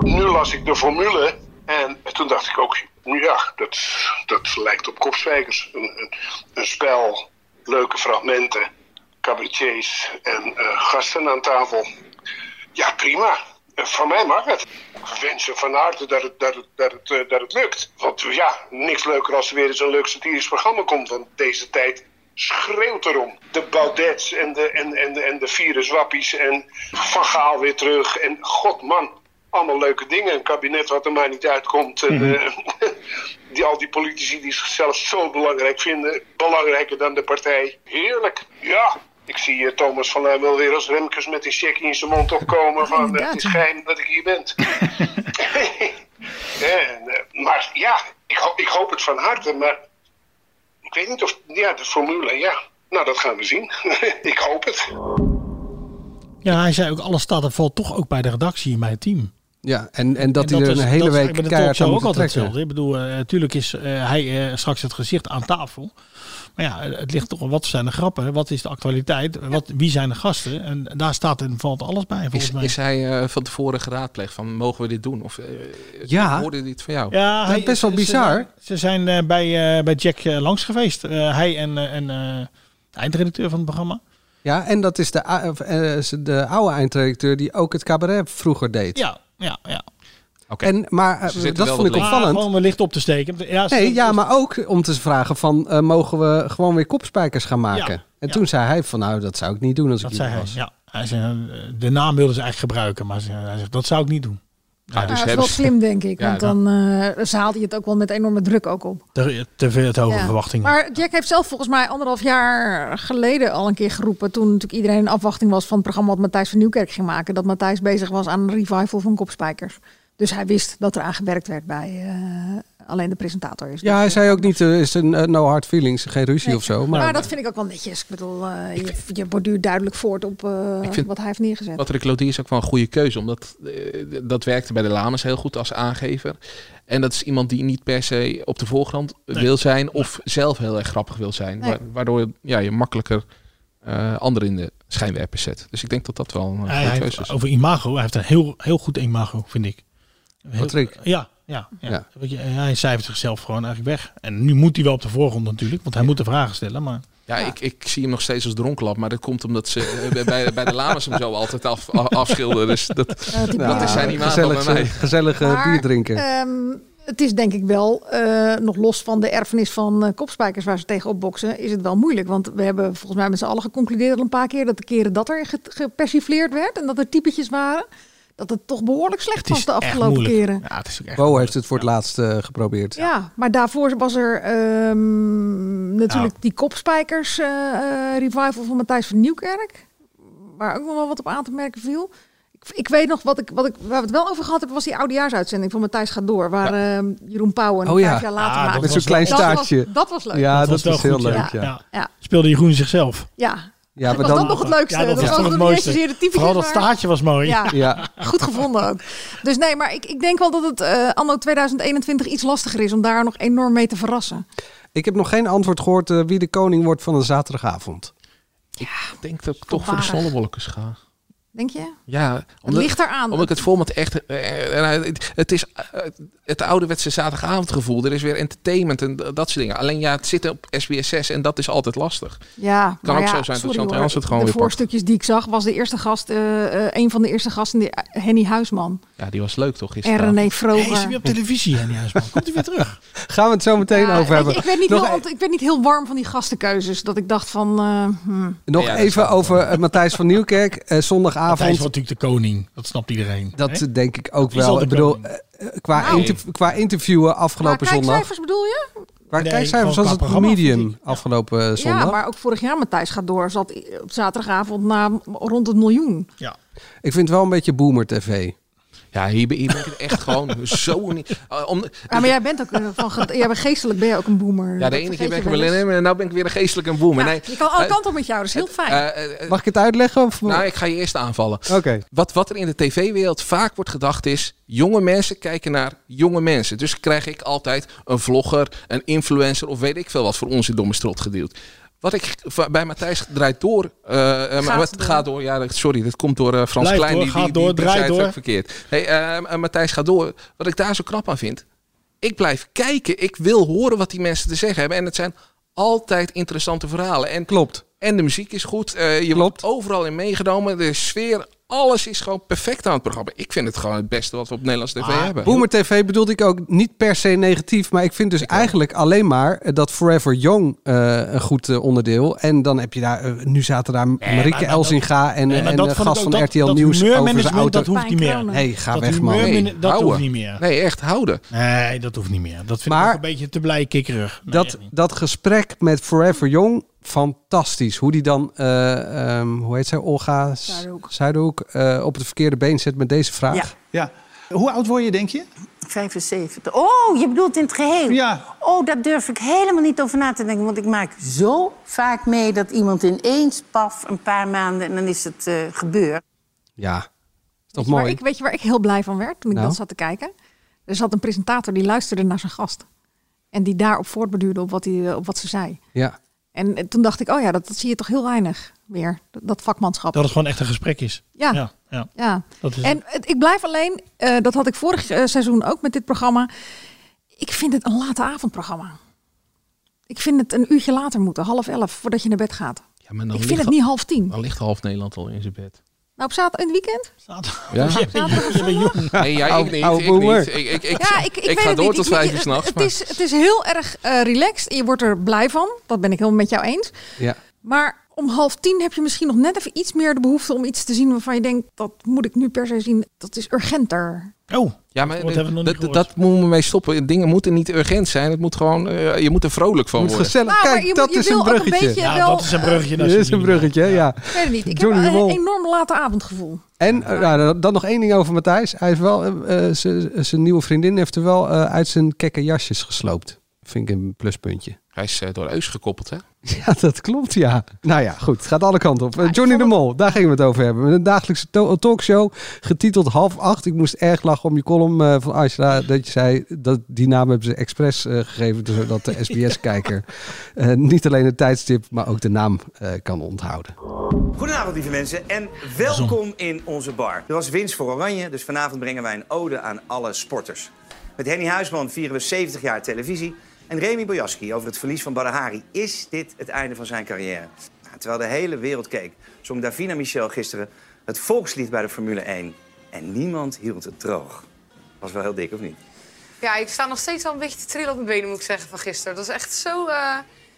J: Nu las ik de formule en toen dacht ik ook, ja, dat, dat lijkt op kopspijkers. Een, een, een spel, leuke fragmenten, cabaretiers en eh, gasten aan tafel. Ja, prima. Eh, Van mij mag het. Ik wens ze van harte dat het, dat, het, dat, het, eh, dat het lukt. Want ja, niks leuker als er weer eens een leuk satirisch programma komt. Want deze tijd schreeuwt erom. De Baudets en de, en, en, en de viruswappies en Van Gaal weer terug. En god man, allemaal leuke dingen. Een kabinet wat er maar niet uitkomt. En, eh, die, al die politici die zichzelf zo belangrijk vinden. Belangrijker dan de partij. Heerlijk. Ja. Ik zie eh, Thomas van Luijn wel weer als Remkes met een checkie in zijn mond opkomen. Van eh, het is geheim dat ik hier ben. En, eh, maar ja, ik, ho- ik hoop het van harte. Maar ik weet niet of. Ja, de formule, ja. Nou, dat gaan we zien. ik hoop het.
I: Ja, hij zei ook, alles staat en valt toch ook bij de redactie in mijn team.
G: Ja, en, en dat
H: En
G: hij er
H: is-
G: een hele
H: dat is
G: week
H: eigenlijk bij de
G: keihard
H: talkshow
G: aan
H: ook
G: moet
H: altijd
G: trekken.
H: hetzelfde. Ik bedoel, natuurlijk is eh, hij eh, straks het gezicht aan tafel. Maar ja, eh, het ligt toch wel wat zijn de grappen, wat is de actualiteit, wat, wie zijn de gasten. En daar staat en valt alles bij volgens
D: Is,
H: mij.
D: is hij eh, van tevoren geraadpleegd van mogen we dit doen? Of eh,
G: Ja.
D: ik hoorde dit van jou?
H: Ja, hij-
G: best wel
H: ze-
G: bizar.
H: Ze, zijn eh, bij, eh, bij Jack eh, langs geweest. Eh, hij en, eh, en eh, de eindredacteur van het programma.
G: Ja, en dat is de, a- of, eh, is de oude eindredacteur die ook het cabaret vroeger deed.
H: Ja, ja, ja.
G: En, maar eh,
H: Ze zitten
G: dat
H: wel
G: vond ik
H: wat laag.
G: opvallend.
H: Maar Om een licht op te steken. Ja, ze-
G: nee, ja, maar ook om te vragen van, eh, mogen we gewoon weer kopspijkers gaan maken?
H: Ja,
G: en
H: ja.
G: toen zei hij van, nou, dat zou ik niet doen als
H: dat
G: ik
H: zei
G: jullie
H: hij.
G: was.
H: Ja, hij zei, eh, de naam wilden ze eigenlijk gebruiken, maar ze- hij zegt, dat zou ik niet doen.
K: Ja, dat is wel slim, denk ik.
H: Ja,
K: Want
H: dan-
K: dan eh, ze haalde je het ook wel met enorme druk ook op.
H: Te, te veel te hoge
K: Ja.
H: verwachtingen.
K: Maar Jack heeft zelf volgens mij anderhalf jaar geleden al een keer geroepen. Toen natuurlijk iedereen in afwachting was van het programma wat Matthijs van Nieuwkerk ging maken. Dat Matthijs bezig was aan een revival van Kopspijkers. Dus hij wist dat er aan gewerkt werd bij eh, alleen de presentator. Is.
G: Ja, hij zei ook niet, eh, is een eh, no hard feelings, geen ruzie of zo. Maar,
K: Maar, dat vind ik ook wel netjes. Ik bedoel, eh, je, je borduurt duidelijk voort op eh,
D: Ik vind-
K: wat hij heeft neergezet.
D: Patrick Lodier is ook wel een goede keuze, omdat eh, dat werkte bij de Lames heel goed als aangever. En dat is iemand die niet per se op de voorgrond
B: Nee.
D: wil zijn of zelf heel erg grappig wil zijn.
K: Nee.
D: wa- waardoor ja, je makkelijker eh anderen in de schijnwerpers zet. Dus ik denk dat dat wel een
H: Hij
D: goede
H: heeft-
D: keuze is.
H: over imago, hij heeft een heel, heel goed imago, vind ik. Heel-
D: Patrick?
H: Ja, ja, ja.
D: Ja.
H: Weet je, eh, hij cijfert zichzelf gewoon eigenlijk weg. En nu moet hij wel op de voorgrond natuurlijk, want hij moet de vragen stellen. Maar
D: Ja, Ik, ik zie hem nog steeds als dronklap, maar dat komt omdat ze eh, bij- bij, bij de Lames hem zo altijd af, a- afschilderen. Dus dat,
K: Ja, die
D: dat
K: bier.
D: is zijn imago bij
G: Nou, gezellig,
D: mij.
G: gezellig eh,
K: Maar,
G: bier drinken.
K: ehm, het is denk ik wel, eh, nog los van de erfenis van eh, kopspijkers waar ze tegenop boksen, is het wel moeilijk. Want we hebben volgens mij met z'n allen geconcludeerd al een paar keer dat de keren dat er ge- gepersifleerd werd en dat er typetjes waren, dat het toch behoorlijk slecht was de afgelopen keren.
H: Ja, het is ook echt
G: Bo heeft het voor het laatst eh, geprobeerd.
K: Ja. maar daarvoor was er ehm, natuurlijk
H: nou,
G: Ja.
K: die kopspijkers eh, eh, revival van Matthijs van Nieuwkerk. Waar ook nog wel wat op aan te merken viel. Ik, ik weet nog, wat ik, wat ik, waar we het wel over gehad hebben, was die oudejaarsuitzending van Matthijs gaat door. Waar ehm, Jeroen Pauwen
G: Oh ja.
K: vijf jaar later
G: Ah,
K: maakte.
G: dat Met zo'n was klein
K: Dat was-
G: staartje.
K: Dat was leuk.
G: Ja, dat
H: was wel
G: was heel
H: goed,
G: leuk, ja.
H: Ja.
K: Ja.
H: Speelde Jeroen zichzelf.
K: Ja.
G: Ja,
K: dat was dan nog het leukste.
H: Ja,
K: dat,
H: is
K: was nog
H: toch het
K: niet eens
H: mooiste.
K: zozeer de typetjes,
H: Vooral dat
K: maar-
H: staartje was mooi.
K: Ja. Goed gevonden ook. Dus nee, maar ik, ik denk wel dat het eh, anno 2021 iets lastiger is om daar nog enorm mee te verrassen.
G: Ik heb nog geen antwoord gehoord eh, wie de koning wordt van een zaterdagavond.
D: Ik denk dat ik toch voor de
K: Voorbarig.
D: snollebolletjes ga.
K: Denk je?
D: Ja,
K: ligt eraan.
D: Omdat ik het format echt... eh, eh, het- het is eh, het ouderwetse zaterdagavondgevoel. Er is weer entertainment en dat soort dingen. Alleen ja, het zit op SBS6 en dat is altijd lastig.
K: Ja, maar
D: Kan ook
K: Nou ja,
D: zo zijn dat
K: sorry
D: Chantal
K: hoor.
D: Jansen het gewoon
K: de
D: weer pakt.
K: voorstukjes die ik zag, was de eerste gast, eh, eh, een van de eerste gasten, die, eh, Henny Huisman.
D: Ja, die was leuk toch
K: En
D: gisteren?
K: René Vroger.
H: Hij is weer op televisie, Henny Huisman. Komt hij weer terug?
G: Gaan we het zo meteen
K: Ja, weet
G: over
K: je,
G: hebben.
K: ik, werd niet
G: nog
K: heel,
G: e-
K: ant- ik werd niet heel warm van die gastenkeuzes. Dat ik dacht van. eh,
G: Nou,
K: hmm.
G: nog even over eh, Matthijs van Nieuwkerk. eh, zondagavond.
H: Matthijs wordt natuurlijk de koning. Dat snapt iedereen.
G: Dat
H: hè?
G: denk ik ook
H: Die zal
G: wel.
H: de
G: Ik bedoel,
H: koning.
G: eh, eh, qua,
H: Nou.
G: interv- qua interviewen afgelopen
K: maar
G: zondag.
K: kijkcijfers bedoel je?
G: Qua
H: Nee, gewoon
G: kijkcijfers was
H: qua
G: het
H: programma,
G: medium afgelopen eh, zondag.
K: Ja, maar ook vorig jaar Matthijs gaat door. Zat i- op zaterdagavond na rond het miljoen.
H: Ja.
G: Ik vind het wel een beetje boomer tv.
D: Ja, hier ben, hier ben ik het echt gewoon zo niet... eh, om,
K: maar jij bent ook eh, van. ge- jij bent geestelijk ben je ook een boomer.
D: ja,
K: Dat
D: de ene keer
K: vergeet
D: ben ik
K: je
D: een
K: wel eens.
D: millennium en nu ben ik weer een geestelijke boomer.
K: Ja,
D: nee,
K: je kan alle
D: eh,
K: kanten op met jou, dat is heel fijn.
D: eh, eh,
G: Mag ik het uitleggen? Of...
D: Nou, ik ga je eerst aanvallen.
G: Oké.
D: Wat, wat er in de tv-wereld vaak wordt gedacht is... jonge mensen kijken naar jonge mensen. Dus krijg ik altijd een vlogger, een influencer... of weet ik veel wat voor onzin domme strot gedeeld. Wat ik va- bij Matthijs draait door... eh, eh, maar wat
B: door.
D: gaat door? Ja, dat- sorry, dat komt door eh, Frans
H: Blijft
D: Klein.
H: door,
D: die,
H: gaat
D: die, die-
H: door,
D: die
H: draait
D: zei het
H: door.
D: ook verkeerd. Nee, eh, eh, Matthijs gaat door. Wat ik daar zo knap aan vind... ik blijf kijken. Ik wil horen wat die mensen te zeggen hebben. En het zijn altijd interessante verhalen. En
G: Klopt.
D: en de muziek is goed. Eh, je wordt overal in meegenomen. De sfeer, alles is gewoon perfect aan het programma. Ik vind het gewoon het beste wat we op Nederlands tv
H: Ah,
D: hebben.
G: Boomer TV bedoelde ik ook niet per se negatief, maar ik vind dus eigenlijk alleen maar eh, dat Forever Young eh, een goed eh, onderdeel. En dan heb je daar, eh, nu zaten daar Marike
H: maar dat-
G: Elzinga en,
H: Nee,
G: eh,
H: maar
G: en
H: dat
G: de
H: vond ik
G: gast
H: ook,
G: van
H: dat-
G: RTL
H: dat
G: Nieuws over zijn
H: humeurmanagement,
G: auto.
H: dat hoeft niet meer.
G: Nee, ga
H: Dat
G: weg man.
H: humeurmin-
G: Nee,
H: dat hoeft
G: houden.
H: niet meer.
D: Nee, echt houden.
H: Nee, dat hoeft niet meer. Dat vind ik
G: Maar-
H: ook een beetje te blij kikkerig. Nee,
G: dat, dat gesprek met Forever Young, fantastisch. Hoe die dan, eh, ehm, hoe heet zij, Olga S-
O: Zuiderhoek.
G: Zuiderhoek, eh, op het verkeerde been zet met deze vraag.
O: Ja.
I: ja. Hoe oud word je, denk je?
O: 75. Oh, je bedoelt in het geheel?
I: Ja.
O: Oh, daar durf ik helemaal niet over na te denken. Want ik maak zo vaak mee dat iemand ineens, paf, een paar maanden... en dan is het eh gebeurd.
G: Ja. toch
K: Maar
G: mooi?
K: ik weet je waar ik heel blij van werd toen ik
G: Nou?
K: dat zat te kijken? Er zat een presentator die luisterde naar zijn gast. En die daarop voortbeduurde op wat, hij, eh, op wat ze zei.
G: Ja.
K: En eh, toen dacht ik, oh ja, dat, dat zie je toch heel weinig meer. Dat, dat vakmanschap.
H: Dat het gewoon echt een gesprek is.
K: Ja.
H: Ja. ja.
K: Ja,
H: Dat is
K: en het, ik blijf alleen, eh, dat had ik vorig eh, seizoen ook met dit programma. Ik vind het een late avondprogramma. Ik vind het een uurtje later moeten, half elf, voordat je naar bed gaat.
D: Ja, maar
K: ik
D: dan
K: vind
D: ligt
K: het
D: al-
K: niet half tien.
D: Dan ligt half Nederland al in zijn bed.
K: Nou, op zaterdag in het weekend?
D: Ja? Nee, ja, ik niet.
G: oude
D: Ik, niet.
G: boomer.
D: ik, ik, ik,
K: ja, ik, ik, weet
D: ga
K: het
D: door
K: niet.
D: tot
K: Ik moet
D: vijf
K: je-
D: uur s'nachts.
K: Het is, het is heel erg eh, relaxed. Je wordt er blij van. Dat ben ik helemaal met jou eens.
G: Ja.
K: Maar om half tien heb je misschien nog net even iets meer de behoefte om iets te zien waarvan je denkt, dat moet ik nu per se zien. Dat is urgenter.
H: Oh,
D: ja, maar
H: hebben we nog niet
D: dat- dat,
H: gehoord.
D: dat moeten we mee stoppen. Dingen moeten niet urgent zijn. Het moet gewoon, eh, je moet er vrolijk van
G: Moet
D: worden.
G: gezellig.
K: Nou, maar
G: Kijk,
K: je
G: dat
K: moet- je
G: is
K: wil
G: een
K: ook een
G: bruggetje.
K: beetje Ja, wel- dat is een
H: bruggetje, dat
G: Dat
H: is
G: is een bruggetje, ja.
K: Ik weet het niet. Ik
G: Johnny
K: heb
G: de
K: een
G: Mol.
K: enorm late avondgevoel.
G: En eh, nou, dan nog één ding over Matthijs. Hij heeft wel, eh, eh, zijn- zijn nieuwe vriendin heeft er wel eh, uit zijn kekke jasjes gesloopt. Vind ik een pluspuntje.
D: Hij is eh, door Eus gekoppeld, hè?
G: Ja, dat klopt, ja. Nou ja, goed. Het gaat alle kanten op. Eh, Johnny de Mol, daar gingen we het over hebben. Met een dagelijkse to- eh, talkshow, getiteld half acht. Ik moest erg lachen om je column eh, van Aisha. Dat je zei, dat, die naam hebben ze expres eh, gegeven. Zodat de SBS-kijker eh, niet alleen het tijdstip, maar ook de naam eh, kan onthouden.
J: Goedenavond, lieve mensen, en welkom in onze bar. Er was winst voor Oranje, dus vanavond brengen wij een ode aan alle sporters. Met Henny Huisman vieren we 70 jaar televisie. En Remy Bojaski over het verlies van Badahari. Is dit het einde van zijn carrière? Nou, terwijl de hele wereld keek, zong Davina Michel gisteren het volkslied bij de Formule 1. En niemand hield het droog. Was wel heel dik, of niet?
C: Ja, ik sta nog steeds wel een beetje te trillen op mijn benen, moet ik zeggen, van gisteren. Dat is echt zo, eh,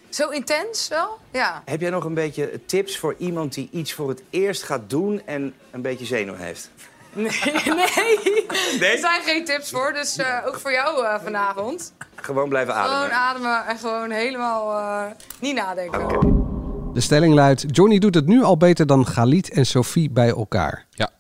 C: zo intens wel. Ja.
J: Heb jij nog een beetje tips voor iemand die iets voor het eerst gaat doen en een beetje zenuw heeft?
C: Nee, nee. Er zijn geen tips voor, dus eh, ook voor jou eh, vanavond.
J: Gewoon blijven ademen.
C: Gewoon
K: nou.
C: ademen en gewoon helemaal eh, niet nadenken.
G: De stelling luidt: Johnny doet het nu al beter dan Galit en Sophie bij elkaar.
D: Ja.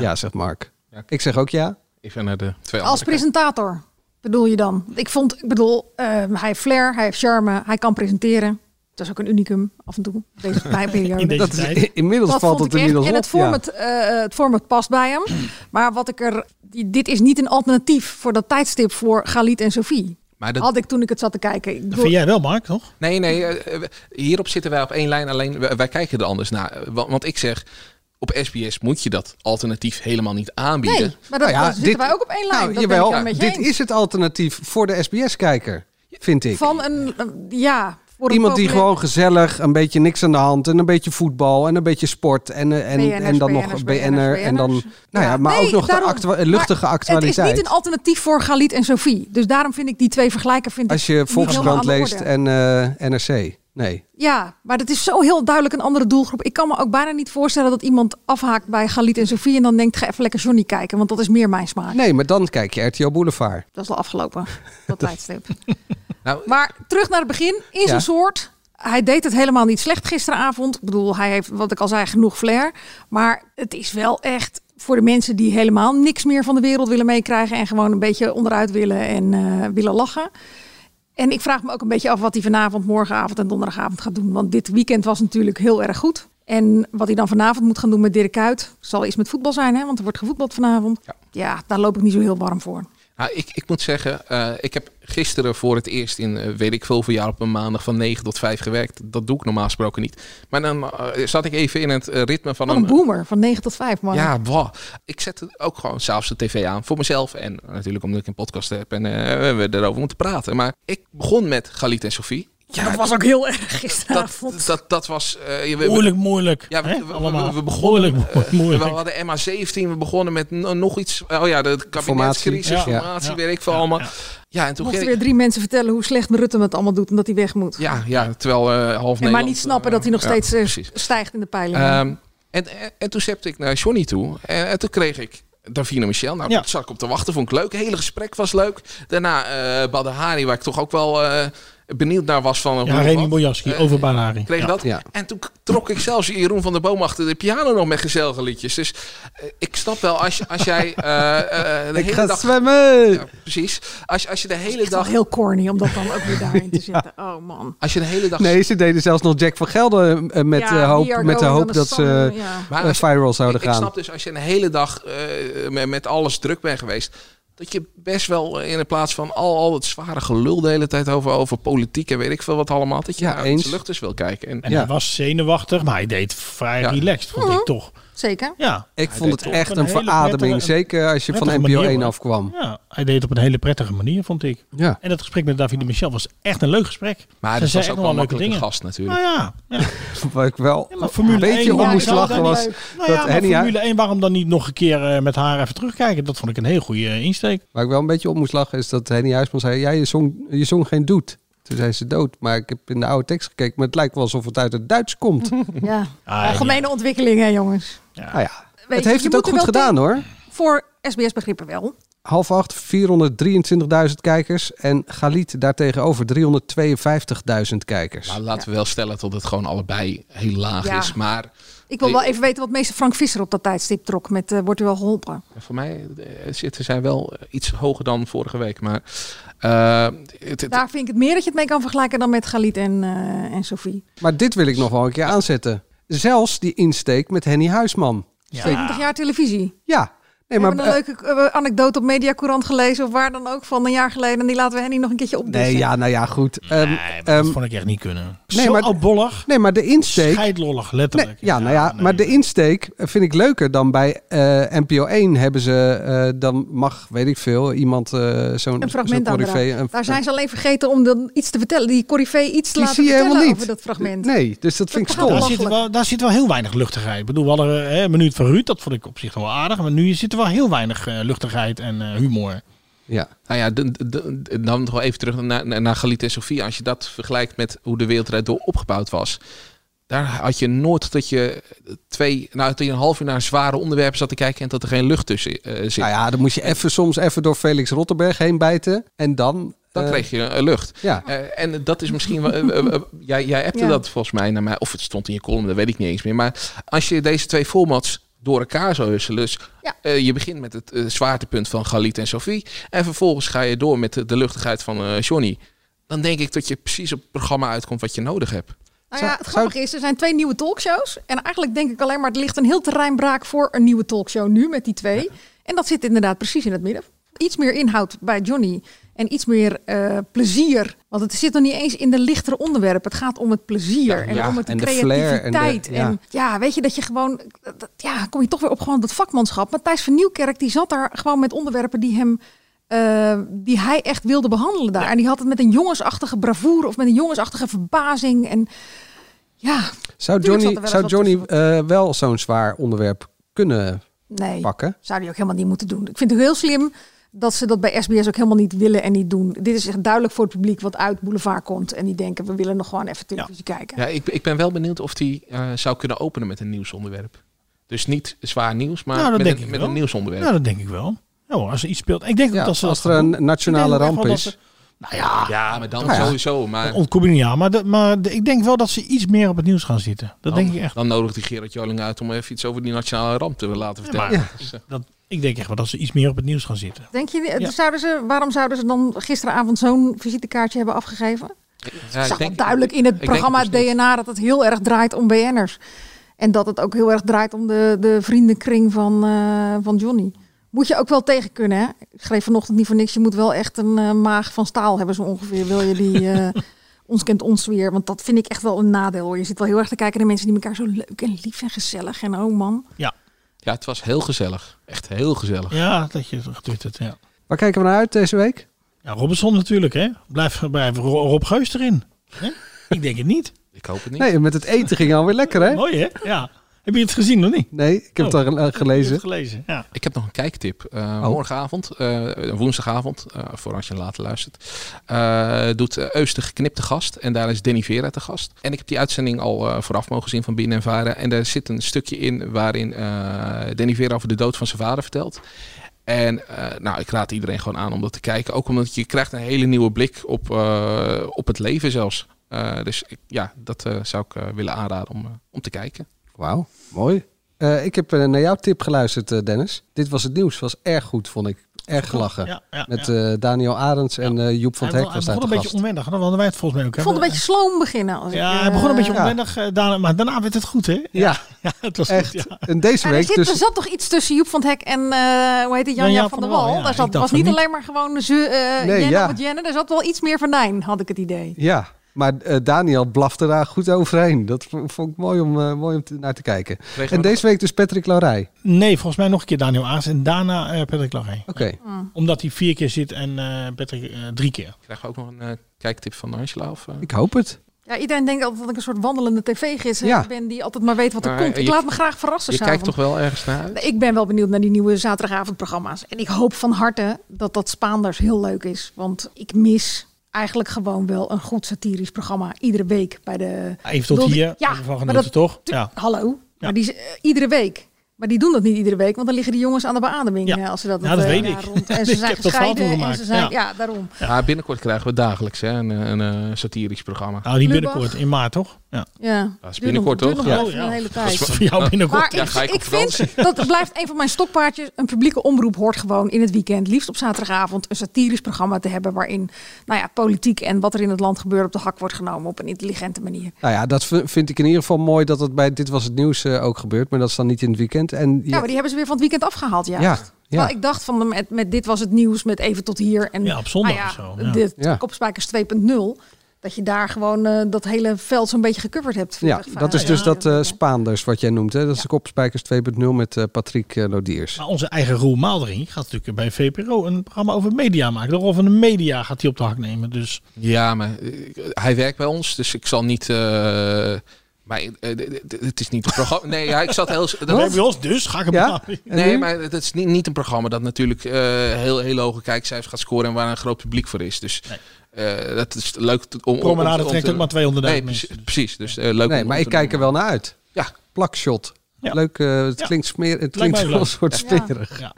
G: Ja, zegt Mark. Ik zeg ook ja.
D: Ik ben naar de twee
K: Als presentator bedoel je dan? Ik vond, ik bedoel, eh, hij heeft flair, hij heeft charme, hij kan presenteren. Dat is ook een unicum af en toe deze periode.
G: In deze Dat is- tijd. inmiddels valt
K: vond
G: het
K: ik echt.
G: inmiddels
K: En het
G: op, ja.
K: format, eh, het format past bij hem. Maar wat ik er, die- dit is niet een alternatief voor dat tijdstip voor Galit en Sophie.
D: Maar dat-
K: Had ik toen ik het zat te kijken. Ik
H: Dat
K: bedoel-
H: vind jij wel, Mark, toch?
D: Nee, nee. eh, eh, hierop zitten wij op één lijn. Alleen wij, wij kijken er anders naar. Eh, wa- Want, ik zeg, op SBS moet je dat alternatief helemaal niet aanbieden.
K: Nee, maar dat,
G: Nou ja,
K: dat zitten
G: dit-
K: wij ook op één lijn.
G: Nou,
K: dat ben ik
G: jawel,
K: wel met je
G: dit
K: eens.
G: is het alternatief voor de SBS-kijker, vind ik.
K: Van een, eh, ja... Voor een
G: Iemand die
K: populair-
G: gewoon gezellig, een beetje niks aan de hand, en een beetje voetbal en een beetje sport en, eh, en,
K: BN'ers,
G: en dan nog
K: BN'ers,
G: BN'er en dan, nou ja, maar
K: Nee,
G: ook nog
K: daarom.
G: de actua- luchtige
K: Maar
G: actualiteit.
K: Het is niet een alternatief voor Galit en Sophie. Dus daarom vind ik die twee vergelijken. Vind
G: Als
K: ik
G: je
K: niet helemaal
G: Volkskrant
K: aan de
G: leest
K: orde.
G: en eh, NRC, nee.
K: Ja, maar dat is zo heel duidelijk een andere doelgroep. Ik kan me ook bijna niet voorstellen dat iemand afhaakt bij Galit en Sophie. En dan denkt, ga even lekker Johnny kijken. Want dat is meer mijn smaak.
G: Nee, maar dan kijk je RTL Boulevard.
K: Dat is al afgelopen, dat tijdstip.
D: Nou-
K: maar terug naar het begin. In zijn
G: Ja.
K: soort. Hij deed het helemaal niet slecht gisteravond. Ik bedoel, hij heeft, wat ik al zei, genoeg flair. Maar het is wel echt voor de mensen die helemaal niks meer van de wereld willen meekrijgen. En gewoon een beetje onderuit willen en eh, willen lachen. En ik vraag me ook een beetje af wat hij vanavond, morgenavond en donderdagavond gaat doen. Want dit weekend was natuurlijk heel erg goed. En wat hij dan vanavond moet gaan doen met Dirk Kuyt... zal iets met voetbal zijn, hè? want er wordt gevoetbald vanavond. Ja. daar loop ik niet zo heel warm voor.
D: Nou, ik, ik moet zeggen, eh, ik heb gisteren voor het eerst in eh, weet ik veel voor jaar op een maandag van 9 tot 5 gewerkt. Dat doe ik normaal gesproken niet. Maar dan eh, zat ik even in het eh, ritme van
K: Wat een boomer, van 9 tot 5, man.
D: Ja, wow. ik zette ook gewoon s'avonds de tv aan voor mezelf. En natuurlijk omdat ik een podcast heb en eh, we erover moeten praten. Maar ik begon met Galit en Sofie. Ja,
K: dat was ook heel erg gisteravond.
D: dat, dat, dat was... eh, je- we- we-
H: Moeilijk, moeilijk.
D: Ja, we,
H: hè?
D: we- we-
H: Allemaal.
D: we begonnen...
H: Moeilijk, moeilijk,
D: eh,
H: moeilijk.
D: We hadden MA17, we begonnen met no- nog iets... Oh ja, de kabinetscrisis,
G: Formatie.
D: formatie,
G: Ja.
D: weet ik veel allemaal. Ja, en toen
K: Mochten
D: ging
K: weer
D: ik...
K: drie mensen vertellen hoe slecht Rutte het allemaal doet en dat hij weg moet.
D: Ja, ja, terwijl eh, half
K: en maar
D: Nederland,
K: niet snappen dat hij nog
D: ja,
K: steeds eh,
D: precies.
K: stijgt in de peilingen.
D: Ehm, en, en, en toen zette ik naar Johnny toe. En, en toen kreeg ik Davina Michel. Nou,
H: Ja.
D: dat zat ik op te wachten. Vond ik leuk. Het hele gesprek was leuk. Daarna eh Badahari, waar ik toch ook wel... eh, benieuwd naar was van... hoe
H: Ja,
D: of
H: Remy
D: wat.
H: Bojaski, over Banari.
D: kreeg dat. En toen k- trok ik zelfs Jeroen van der Boom achter de piano nog met gezellige liedjes. Dus eh, ik snap wel, als, je- als jij eh, eh, de
G: Ik
D: hele
G: ga
D: dag...
G: zwemmen!
D: Ja, precies. Als, als je de hele
K: Het is wel
D: dag...
K: heel corny om dat dan ook weer daarin te zetten. Oh man.
D: Als je de hele dag...
G: Nee, ze deden zelfs nog Jack van Gelder eh, met,
K: Ja, We
G: eh, hoop,
K: Are
G: met de
K: Going on
G: hoop
K: a
G: dat ze
K: Summer, ja.
G: eh,
D: Maar als-
G: viral zouden
D: ik, ik
G: gaan.
D: snap dus als je een hele dag eh, met, met alles druk bent geweest. Dat je best wel eh, in de plaats van al, al het zware gelul de hele tijd over, over politiek en weet ik veel wat allemaal. Dat je
H: Ja,
D: naar
H: eens.
D: de lucht eens wil kijken. En,
H: En hij was zenuwachtig, maar hij deed vrij
D: Ja.
H: relaxed, vond
K: Mhm.
H: ik toch.
K: Zeker.
H: Ja.
G: Ik
H: Hij deed
G: vond het
H: op
G: echt een
H: hele
G: verademing,
H: prettige-
G: zeker als je van
H: prettige
G: NPO
H: manier,
G: 1
H: hoor.
G: afkwam.
H: Ja, hij deed het op een hele prettige manier, vond ik.
G: Ja.
H: En dat gesprek met Davide Michel was echt een leuk gesprek.
D: Maar
H: Ze
D: dat was
H: zei echt
D: ook
H: nog
D: wel een
H: leuke
D: makkelijke
H: dingen.
D: gast natuurlijk.
H: Nou ja,
G: Waar ik wel
H: maar Formule
G: een beetje
H: 1,
G: om
H: waarom
G: de
H: zou
G: slag
H: dat
G: was.
H: niet- Nou
G: dat
H: ja, maar
G: Henny-
H: Formule 1, waarom dan niet nog een keer eh, met haar even terugkijken? Dat vond ik een heel goede eh, insteek.
G: Waar ik wel een beetje op moest lachen is dat Henny Huisman zei... Ja, je zong, je zong geen doet. Toen zei ze dood, maar ik heb in de oude tekst gekeken... maar het lijkt wel alsof het uit het Duits komt.
K: Ja.
H: Ah,
G: ja.
K: Algemene ontwikkeling, hè jongens.
G: Nou ja,
K: Weet
G: het
K: je,
G: heeft
K: je
G: het ook
K: moet
G: goed
K: er wel
G: gedaan hoor.
K: Voor SBS begrippen wel.
G: Half acht, 423.000 kijkers. En Galit daartegenover 352.000 kijkers.
D: Maar Nou, laten we wel stellen dat het gewoon allebei heel laag
K: Ja.
D: is. Maar eh,
K: Ik wil wel
D: Hey.
K: even weten wat meester Frank Visser op dat tijdstip trok met eh, Wordt u wel geholpen?
D: voor mij eh, zitten zij wel iets hoger dan vorige week. Maar eh, het, het-
K: Daar vind ik het meer dat je het mee kan vergelijken dan met Galit en, eh, en Sophie.
G: Maar dit wil ik nog wel een keer aanzetten. Zelfs die insteek met Henny Huisman. Steek-
K: 70 jaar televisie.
G: Ja. Nee,
K: We
G: maar,
K: hebben
G: eh,
K: een leuke eh, anekdote op Mediacourant gelezen of waar dan ook van een jaar geleden. En die laten we Henny nog een keertje opdissen.
G: nee, ja, nou ja, goed. Ehm,
H: dat
G: ehm,
H: vond ik echt niet kunnen.
G: Nee,
H: Zo
G: maar-
H: oudbollig.
G: Nee, maar de insteek...
H: Scheidlollig, letterlijk.
G: Nee, ja, nou ja, maar de insteek vind ik leuker dan bij eh, NPO 1 hebben ze... eh, dan mag, weet ik veel, iemand eh, zo'n...
K: Een
G: zo'n
K: fragment aan
G: coryphée, een-
K: Daar zijn ze alleen vergeten om dan iets te vertellen. Die corrivee iets te
G: Die
K: laten
G: zie je
K: vertellen
G: helemaal niet.
K: over dat fragment.
G: Nee, dus dat vind ik
K: gaat
G: stom.
K: wel
H: Daar zit, wel, daar zit wel heel weinig luchtigheid. Ik bedoel, we hadden eh, een minuut van Ruud, dat vond ik op zich wel aardig. Maar nu zit er wel heel weinig eh, luchtigheid en eh, humor.
G: Ja.
D: Nou ja, de- de- de- dan nog wel even terug naar, naar, naar Galit en Sofie. Als je dat vergelijkt met hoe de wereldrijd door opgebouwd was. Daar had je nooit dat je twee, nou, dat je een half uur naar zware onderwerpen zat te kijken en dat er geen lucht tussen eh, zit.
G: Nou ja, dan moest je even, soms even door Felix Rotterberg heen bijten. En dan...
D: Dan
G: eh,
D: kreeg je eh, lucht.
G: Ja.
D: Eh, en dat is misschien wel. eh, eh, eh, jij, jij appte
G: Ja.
D: dat volgens mij naar mij. Of het stond in je column, dat weet ik niet eens meer. Maar als je deze twee formats door elkaar zou husselen. Dus eh, je begint met het eh, zwaartepunt van Galit en Sophie. En vervolgens ga je door met de, de luchtigheid van eh, Johnny. Dan denk ik dat je precies op het programma uitkomt wat je nodig hebt.
K: Nou ja, het grappige is, er zijn twee nieuwe talkshows. En eigenlijk denk ik alleen maar, er ligt een heel terrein braak voor een nieuwe talkshow nu met die twee. En dat zit inderdaad precies in het midden. Iets meer inhoud bij Johnny en iets meer eh, plezier. Want het zit nog niet eens in de lichtere onderwerpen. Het gaat om het plezier
G: Ja,
K: en
G: ja,
K: om het
G: en de flair
K: creativiteit.
G: en
K: En,
G: de-
K: Mm, ja.
G: ja.
K: weet je, dat je gewoon... Dat, ja, kom je toch weer op gewoon dat vakmanschap. Maar Thijs van Nieuwkerk, die zat daar gewoon met onderwerpen die hem... eh, die hij echt wilde behandelen daar. En die had het met een jongensachtige bravoure... of met een jongensachtige verbazing. En ja,
G: Zou
K: Tuurlijk zat er
G: Johnny,
K: wel
G: zou
K: eens wat
G: Johnny eh, wel zo'n zwaar onderwerp kunnen
K: nee,
G: pakken?
K: zou die ook helemaal niet moeten doen. Ik vind het heel slim dat ze dat bij SBS ook helemaal niet willen en niet doen. Dit is echt duidelijk voor het publiek wat uit Boulevard komt. En die denken, we willen nog gewoon even televisie kijken.
D: Ja, ik, ik ben wel benieuwd of die eh, zou kunnen openen met een nieuwsonderwerp. Dus niet zwaar nieuws, maar
H: Nou, dat
D: met,
H: denk
D: een,
H: ik
D: met
H: wel.
D: een nieuwsonderwerp.
H: Nou, dat denk ik wel. Ja, hoor, als er iets speelt. Ik denk
D: Ja,
H: ook dat ze
D: als
H: dat
D: er
H: gaan
D: een
H: doen.
D: nationale
H: Ik denk ook
D: ramp
H: wel
D: is.
H: dat ze- Nou ja,
D: ja, maar dan
H: Nou ja.
D: sowieso. Maar...
H: dat ontkom je niet aan. Maar, de- maar de- ik denk wel dat ze iets meer op het nieuws gaan zitten. Dat
D: dan,
H: denk ik echt.
D: Dan nodigt die Gerard Joling uit om even iets over die nationale ramp te laten vertellen.
H: maar- Dat, ik denk echt wel dat ze iets meer op het nieuws gaan zitten.
K: Denk je, eh, zouden ze, waarom zouden ze dan gisteravond zo'n visitekaartje hebben afgegeven?
D: Ja,
K: ik
D: ik
K: zag wel
D: denk-
K: duidelijk in het
D: ik
K: programma
D: denk het dus
K: DNA dat het heel erg draait om BN'ers. En dat het ook heel erg draait om de, de vriendenkring van, eh, van Johnny. Moet je ook wel tegen kunnen, hè? Ik schreef vanochtend niet voor niks. Je moet wel echt een eh, maag van staal hebben, zo ongeveer. Wil je die eh, ons kent ons weer? Want dat vind ik echt wel een nadeel, hoor. Je zit wel heel erg te kijken naar mensen die elkaar zo leuk en lief en gezellig. En oh man.
H: Ja.
D: Ja, het was heel gezellig. Echt heel gezellig.
H: Ja, dat je het getwitterd, ja.
G: Waar kijken we naar uit deze week?
H: Ja, Robinson natuurlijk, hè. Blijf, blijf Ro- Rob Geus erin. Hè? ik denk het niet.
D: Ik hoop het niet.
G: Nee, met het eten ging alweer lekker, hè?
H: Mooi, hè? Ja. Heb je het gezien of niet?
G: Nee, ik heb
H: Oh,
G: het al eh,
H: je
G: gelezen.
H: hebt het gelezen, ja.
D: Ik heb nog een kijktip. Eh,
K: Oh.
D: Morgenavond, eh, woensdagavond, eh, voor als je later luistert, eh, doet eh, Eus de geknipte gast. En daar is Danny Vera te gast. En ik heb die uitzending al eh, vooraf mogen zien van Binnen en Varen. En daar zit een stukje in waarin eh Danny Vera over de dood van zijn vader vertelt. En eh, nou, ik raad iedereen gewoon aan om dat te kijken. Ook omdat je krijgt een hele nieuwe blik op, eh, op het leven zelfs. Eh, dus ik- ja, dat eh, zou ik eh, willen aanraden om, eh, om te kijken.
G: Wauw, mooi. Eh, ik heb eh, naar jouw tip geluisterd, eh, Dennis. Dit was het nieuws. Was erg goed, vond ik. Erg gelachen.
H: Ja, ja,
G: Met eh, Daniel Arends en eh, Joep van
H: Hij
G: het
H: begon-
G: Hek was
H: hij
G: daar
H: begon
G: te
H: een beetje
G: gast.
H: onwennig. hè? Dan hadden wij het volgens mij ook.
K: Ik
H: hè?
K: vond het een beetje sloom beginnen. Als
H: Ja,
K: ik,
H: hij begon een beetje
K: eh,
H: onwennig, eh, daarna, maar daarna werd het goed, hè? Ja,
G: ja.
H: het was
G: Echt.
H: goed, ja.
G: En deze
K: Ja, er,
G: week
K: zit,
G: dus...
K: er zat toch iets tussen Joep van het Hek en eh, hoe heet het, Janja van, der Wal.
G: ja.
K: daar zat,
G: Ik dacht
K: was
G: van
K: niet
G: niet.
K: alleen maar gewoon ze, eh,
G: Nee,
K: Jenna
G: ja.
K: op het Jenna. Er zat wel iets meer venijn, had ik het idee.
G: Ja, maar eh, Daniel blafte daar goed overheen. Dat v- vond ik mooi om, eh, mooi om te- naar te kijken.
H: Kregen we
G: en deze week dus Patrick Laurij.
H: Nee, volgens mij nog een keer Daniel Aas en daarna eh Patrick Larrey.
G: Oké.
H: Omdat hij vier keer zit en eh, Patrick eh, drie keer.
D: Krijgen we ook nog een eh, kijktip van Angela? Of, eh?
G: Ik hoop het.
K: Ja, iedereen denkt altijd dat ik een soort wandelende tv-gids
D: Ja.
K: ben die altijd maar weet wat er
D: Maar
K: komt. Ik
D: je-
K: laat me graag verrassen
D: Je kijkt
K: s'avonds.
D: toch wel ergens naar uit?
K: Nee, Ik ben wel benieuwd naar die nieuwe zaterdagavondprogramma's. En ik hoop van harte dat dat Spaanders heel leuk is. Want ik mis eigenlijk gewoon wel een goed satirisch programma. Iedere week bij de...
H: Ah, Even tot
K: Ik bedoel, die-
H: hier.
K: Ja,
H: Hebben we van
K: maar
H: genoten,
K: dat,
H: toch? Ja.
K: hallo. Maar die, is, eh, iedere week. Maar die doen dat niet iedere week. Want dan liggen die jongens aan de beademing eh, als ze dat...
H: Ja, dat
K: eh,
H: weet
K: daar
H: ik.
K: rond- En ze
H: Ik
K: zijn
H: heb dat verhaal
K: gescheiden. En
H: gemaakt,
K: ze zijn,
H: ja.
K: ja. daarom.
D: Maar binnenkort krijgen we dagelijks hè, een, een, eh, satirisch programma.
H: Nou, niet binnenkort, in maart toch? Ja. Oh,
K: Ja.
D: Dat is
K: Duurt nog-
D: binnenkort
K: duurt
D: toch?
K: nog wel even een hele tijd.
D: Dat is
H: voor jou binnenkort.
K: Maar
D: Ja,
K: ik,
D: ga ik op
K: ik vind,
D: vakantie.
K: dat blijft een van mijn stokpaardjes. Een publieke omroep hoort gewoon in het weekend, liefst op zaterdagavond, een satirisch programma te hebben waarin nou ja, politiek en wat er in het land gebeurt op de hak wordt genomen op een intelligente manier.
G: Nou ja, dat v- vind ik in ieder geval mooi dat het bij Dit Was Het Nieuws eh, ook gebeurt. Maar dat is dan niet in het weekend. En
K: Ja, maar die hebben ze weer van het weekend afgehaald, juist.
G: Ja,
K: Terwijl
G: ja.
K: ik dacht van met, met dit was het nieuws, met even tot hier. En,
G: Ja, op zondag
K: nou
G: of zo, ja.
K: Dit,
G: Ja.
K: Kopspijkers 2.0. Dat je daar gewoon eh, dat hele veld zo'n beetje gecoverd hebt.
G: ja, dat is dus
K: dat.
G: dat eh, Spaanders wat jij noemt. Hè? Dat is de Kopspijkers 2.0 met eh, Patrick eh, Lodiers.
H: Maar onze eigen Roel Maaldering gaat natuurlijk bij VPRO een programma over media maken. De rol van de media gaat hij op de hak nemen. Dus
D: Ja, maar eh, hij werkt bij ons, dus ik zal niet. eh, maar eh, d- d- d- het is niet een programma. Nee, ja, ik zat heel.
H: dat hebben we ons dus. Ga ik hem betalen.
D: Nee, maar het is niet, niet een programma dat natuurlijk eh, heel, heel hoge kijkcijfers gaat scoren en waar een groot publiek voor is. Dus eh, dat is leuk te- om. om-
H: Promenade
D: om te-
H: trekt ook maar 200.000
D: Nee,
H: mensen,
D: precies. precies. Dus eh, leuk.
G: Nee,
D: om-
G: maar
D: om
G: ik
D: te
G: kijk er
D: doen.
G: wel naar uit.
D: Ja.
G: Plakshot. Leuk, eh, het
D: Ja.
G: klinkt, smeer,
D: Lijkt
G: het
D: mij
G: klinkt
D: ook
G: wel een
D: leuk.
G: soort
K: Ja.
G: smerig.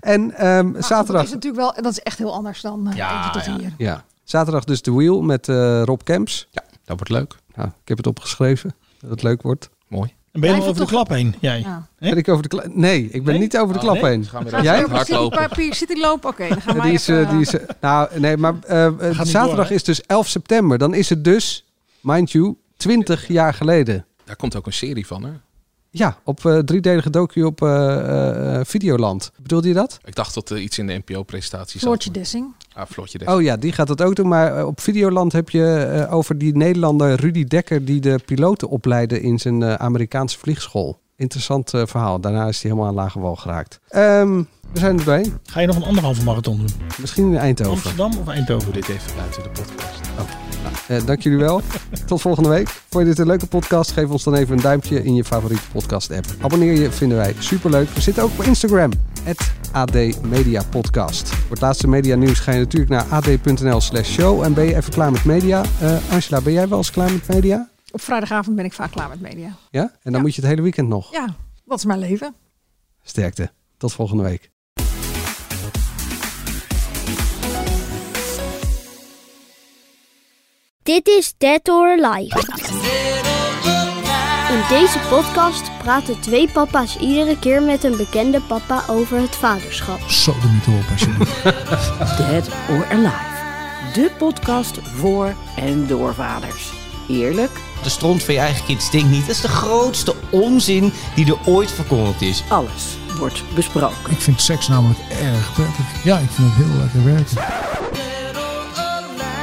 G: en ehm,
K: Dat
G: zaterdag...
K: is natuurlijk wel, dat is echt heel anders dan eh, even tot hier.
G: Ja. Zaterdag dus de Wheel met eh, Rob Kemps. Ja,
D: dat wordt leuk.
G: Nou, ik heb het opgeschreven dat het leuk wordt.
D: Mooi.
H: En ben je al over de klap heen? Jij.
K: Ja.
G: Ben ik over de kla- nee, ik ben niet over de
H: Oh,
G: klap
H: nee?
G: heen.
H: Gaan we
K: Gaat
G: Jij?
K: er over City- Papier City lopen? Oké, dan gaan
G: Ja,
K: wij
G: die is,
K: even...
G: eh, die is, eh, nou, nee, maar eh, eh,
H: niet
G: zaterdag
H: door, hè?
G: is dus 11 september. Dan is het dus, mind you, 20 jaar geleden.
D: Daar komt ook een serie van, hè?
G: Ja, op eh, driedelige docu op eh, eh, Videoland. Bedoelde je dat?
D: Ik dacht dat er iets in de NPO-presentatie zat.
K: Floortje Dessing.
D: Ah, Floortje Dessing.
G: Oh ja, die gaat dat ook doen. Maar eh, op Videoland heb je eh, over die Nederlander Rudy Dekker... die de piloten opleidde in zijn eh, Amerikaanse vliegschool. Interessant eh, verhaal. Daarna is hij helemaal aan lage wal geraakt. Ehm, we zijn er doorheen.
H: Ga je nog een anderhalve marathon doen?
G: Misschien in Eindhoven.
H: Amsterdam of Eindhoven?
D: Dit even buiten de podcast.
G: Eh, dank jullie wel. Tot volgende week. Vond je dit een leuke podcast? Geef ons dan even een duimpje in je favoriete podcast app. Abonneer je, vinden wij superleuk. We zitten ook op Instagram. @admediapodcast. Media Podcast. Voor het laatste media nieuws ga je natuurlijk naar ad.nl slash show. En ben je even klaar met media? Eh, Angela, ben jij wel eens klaar met media?
K: Op vrijdagavond ben ik vaak klaar met media.
G: Ja? En dan moet je het hele weekend nog.
K: Ja, dat is mijn leven.
G: Sterkte. Tot volgende week.
P: Dit is Dead or Alive. In deze podcast praten twee papa's iedere keer met een bekende papa over het vaderschap.
H: Zo de mythe op alsjeblieft.
Q: Dead or Alive. De podcast voor en door vaders. Eerlijk,
R: De stront van je eigen kind stinkt niet. Dat is de grootste onzin die er ooit verkondigd is.
Q: alles wordt besproken.
R: Ik vind seks namelijk erg prettig. Ja, ik vind het heel lekker werken.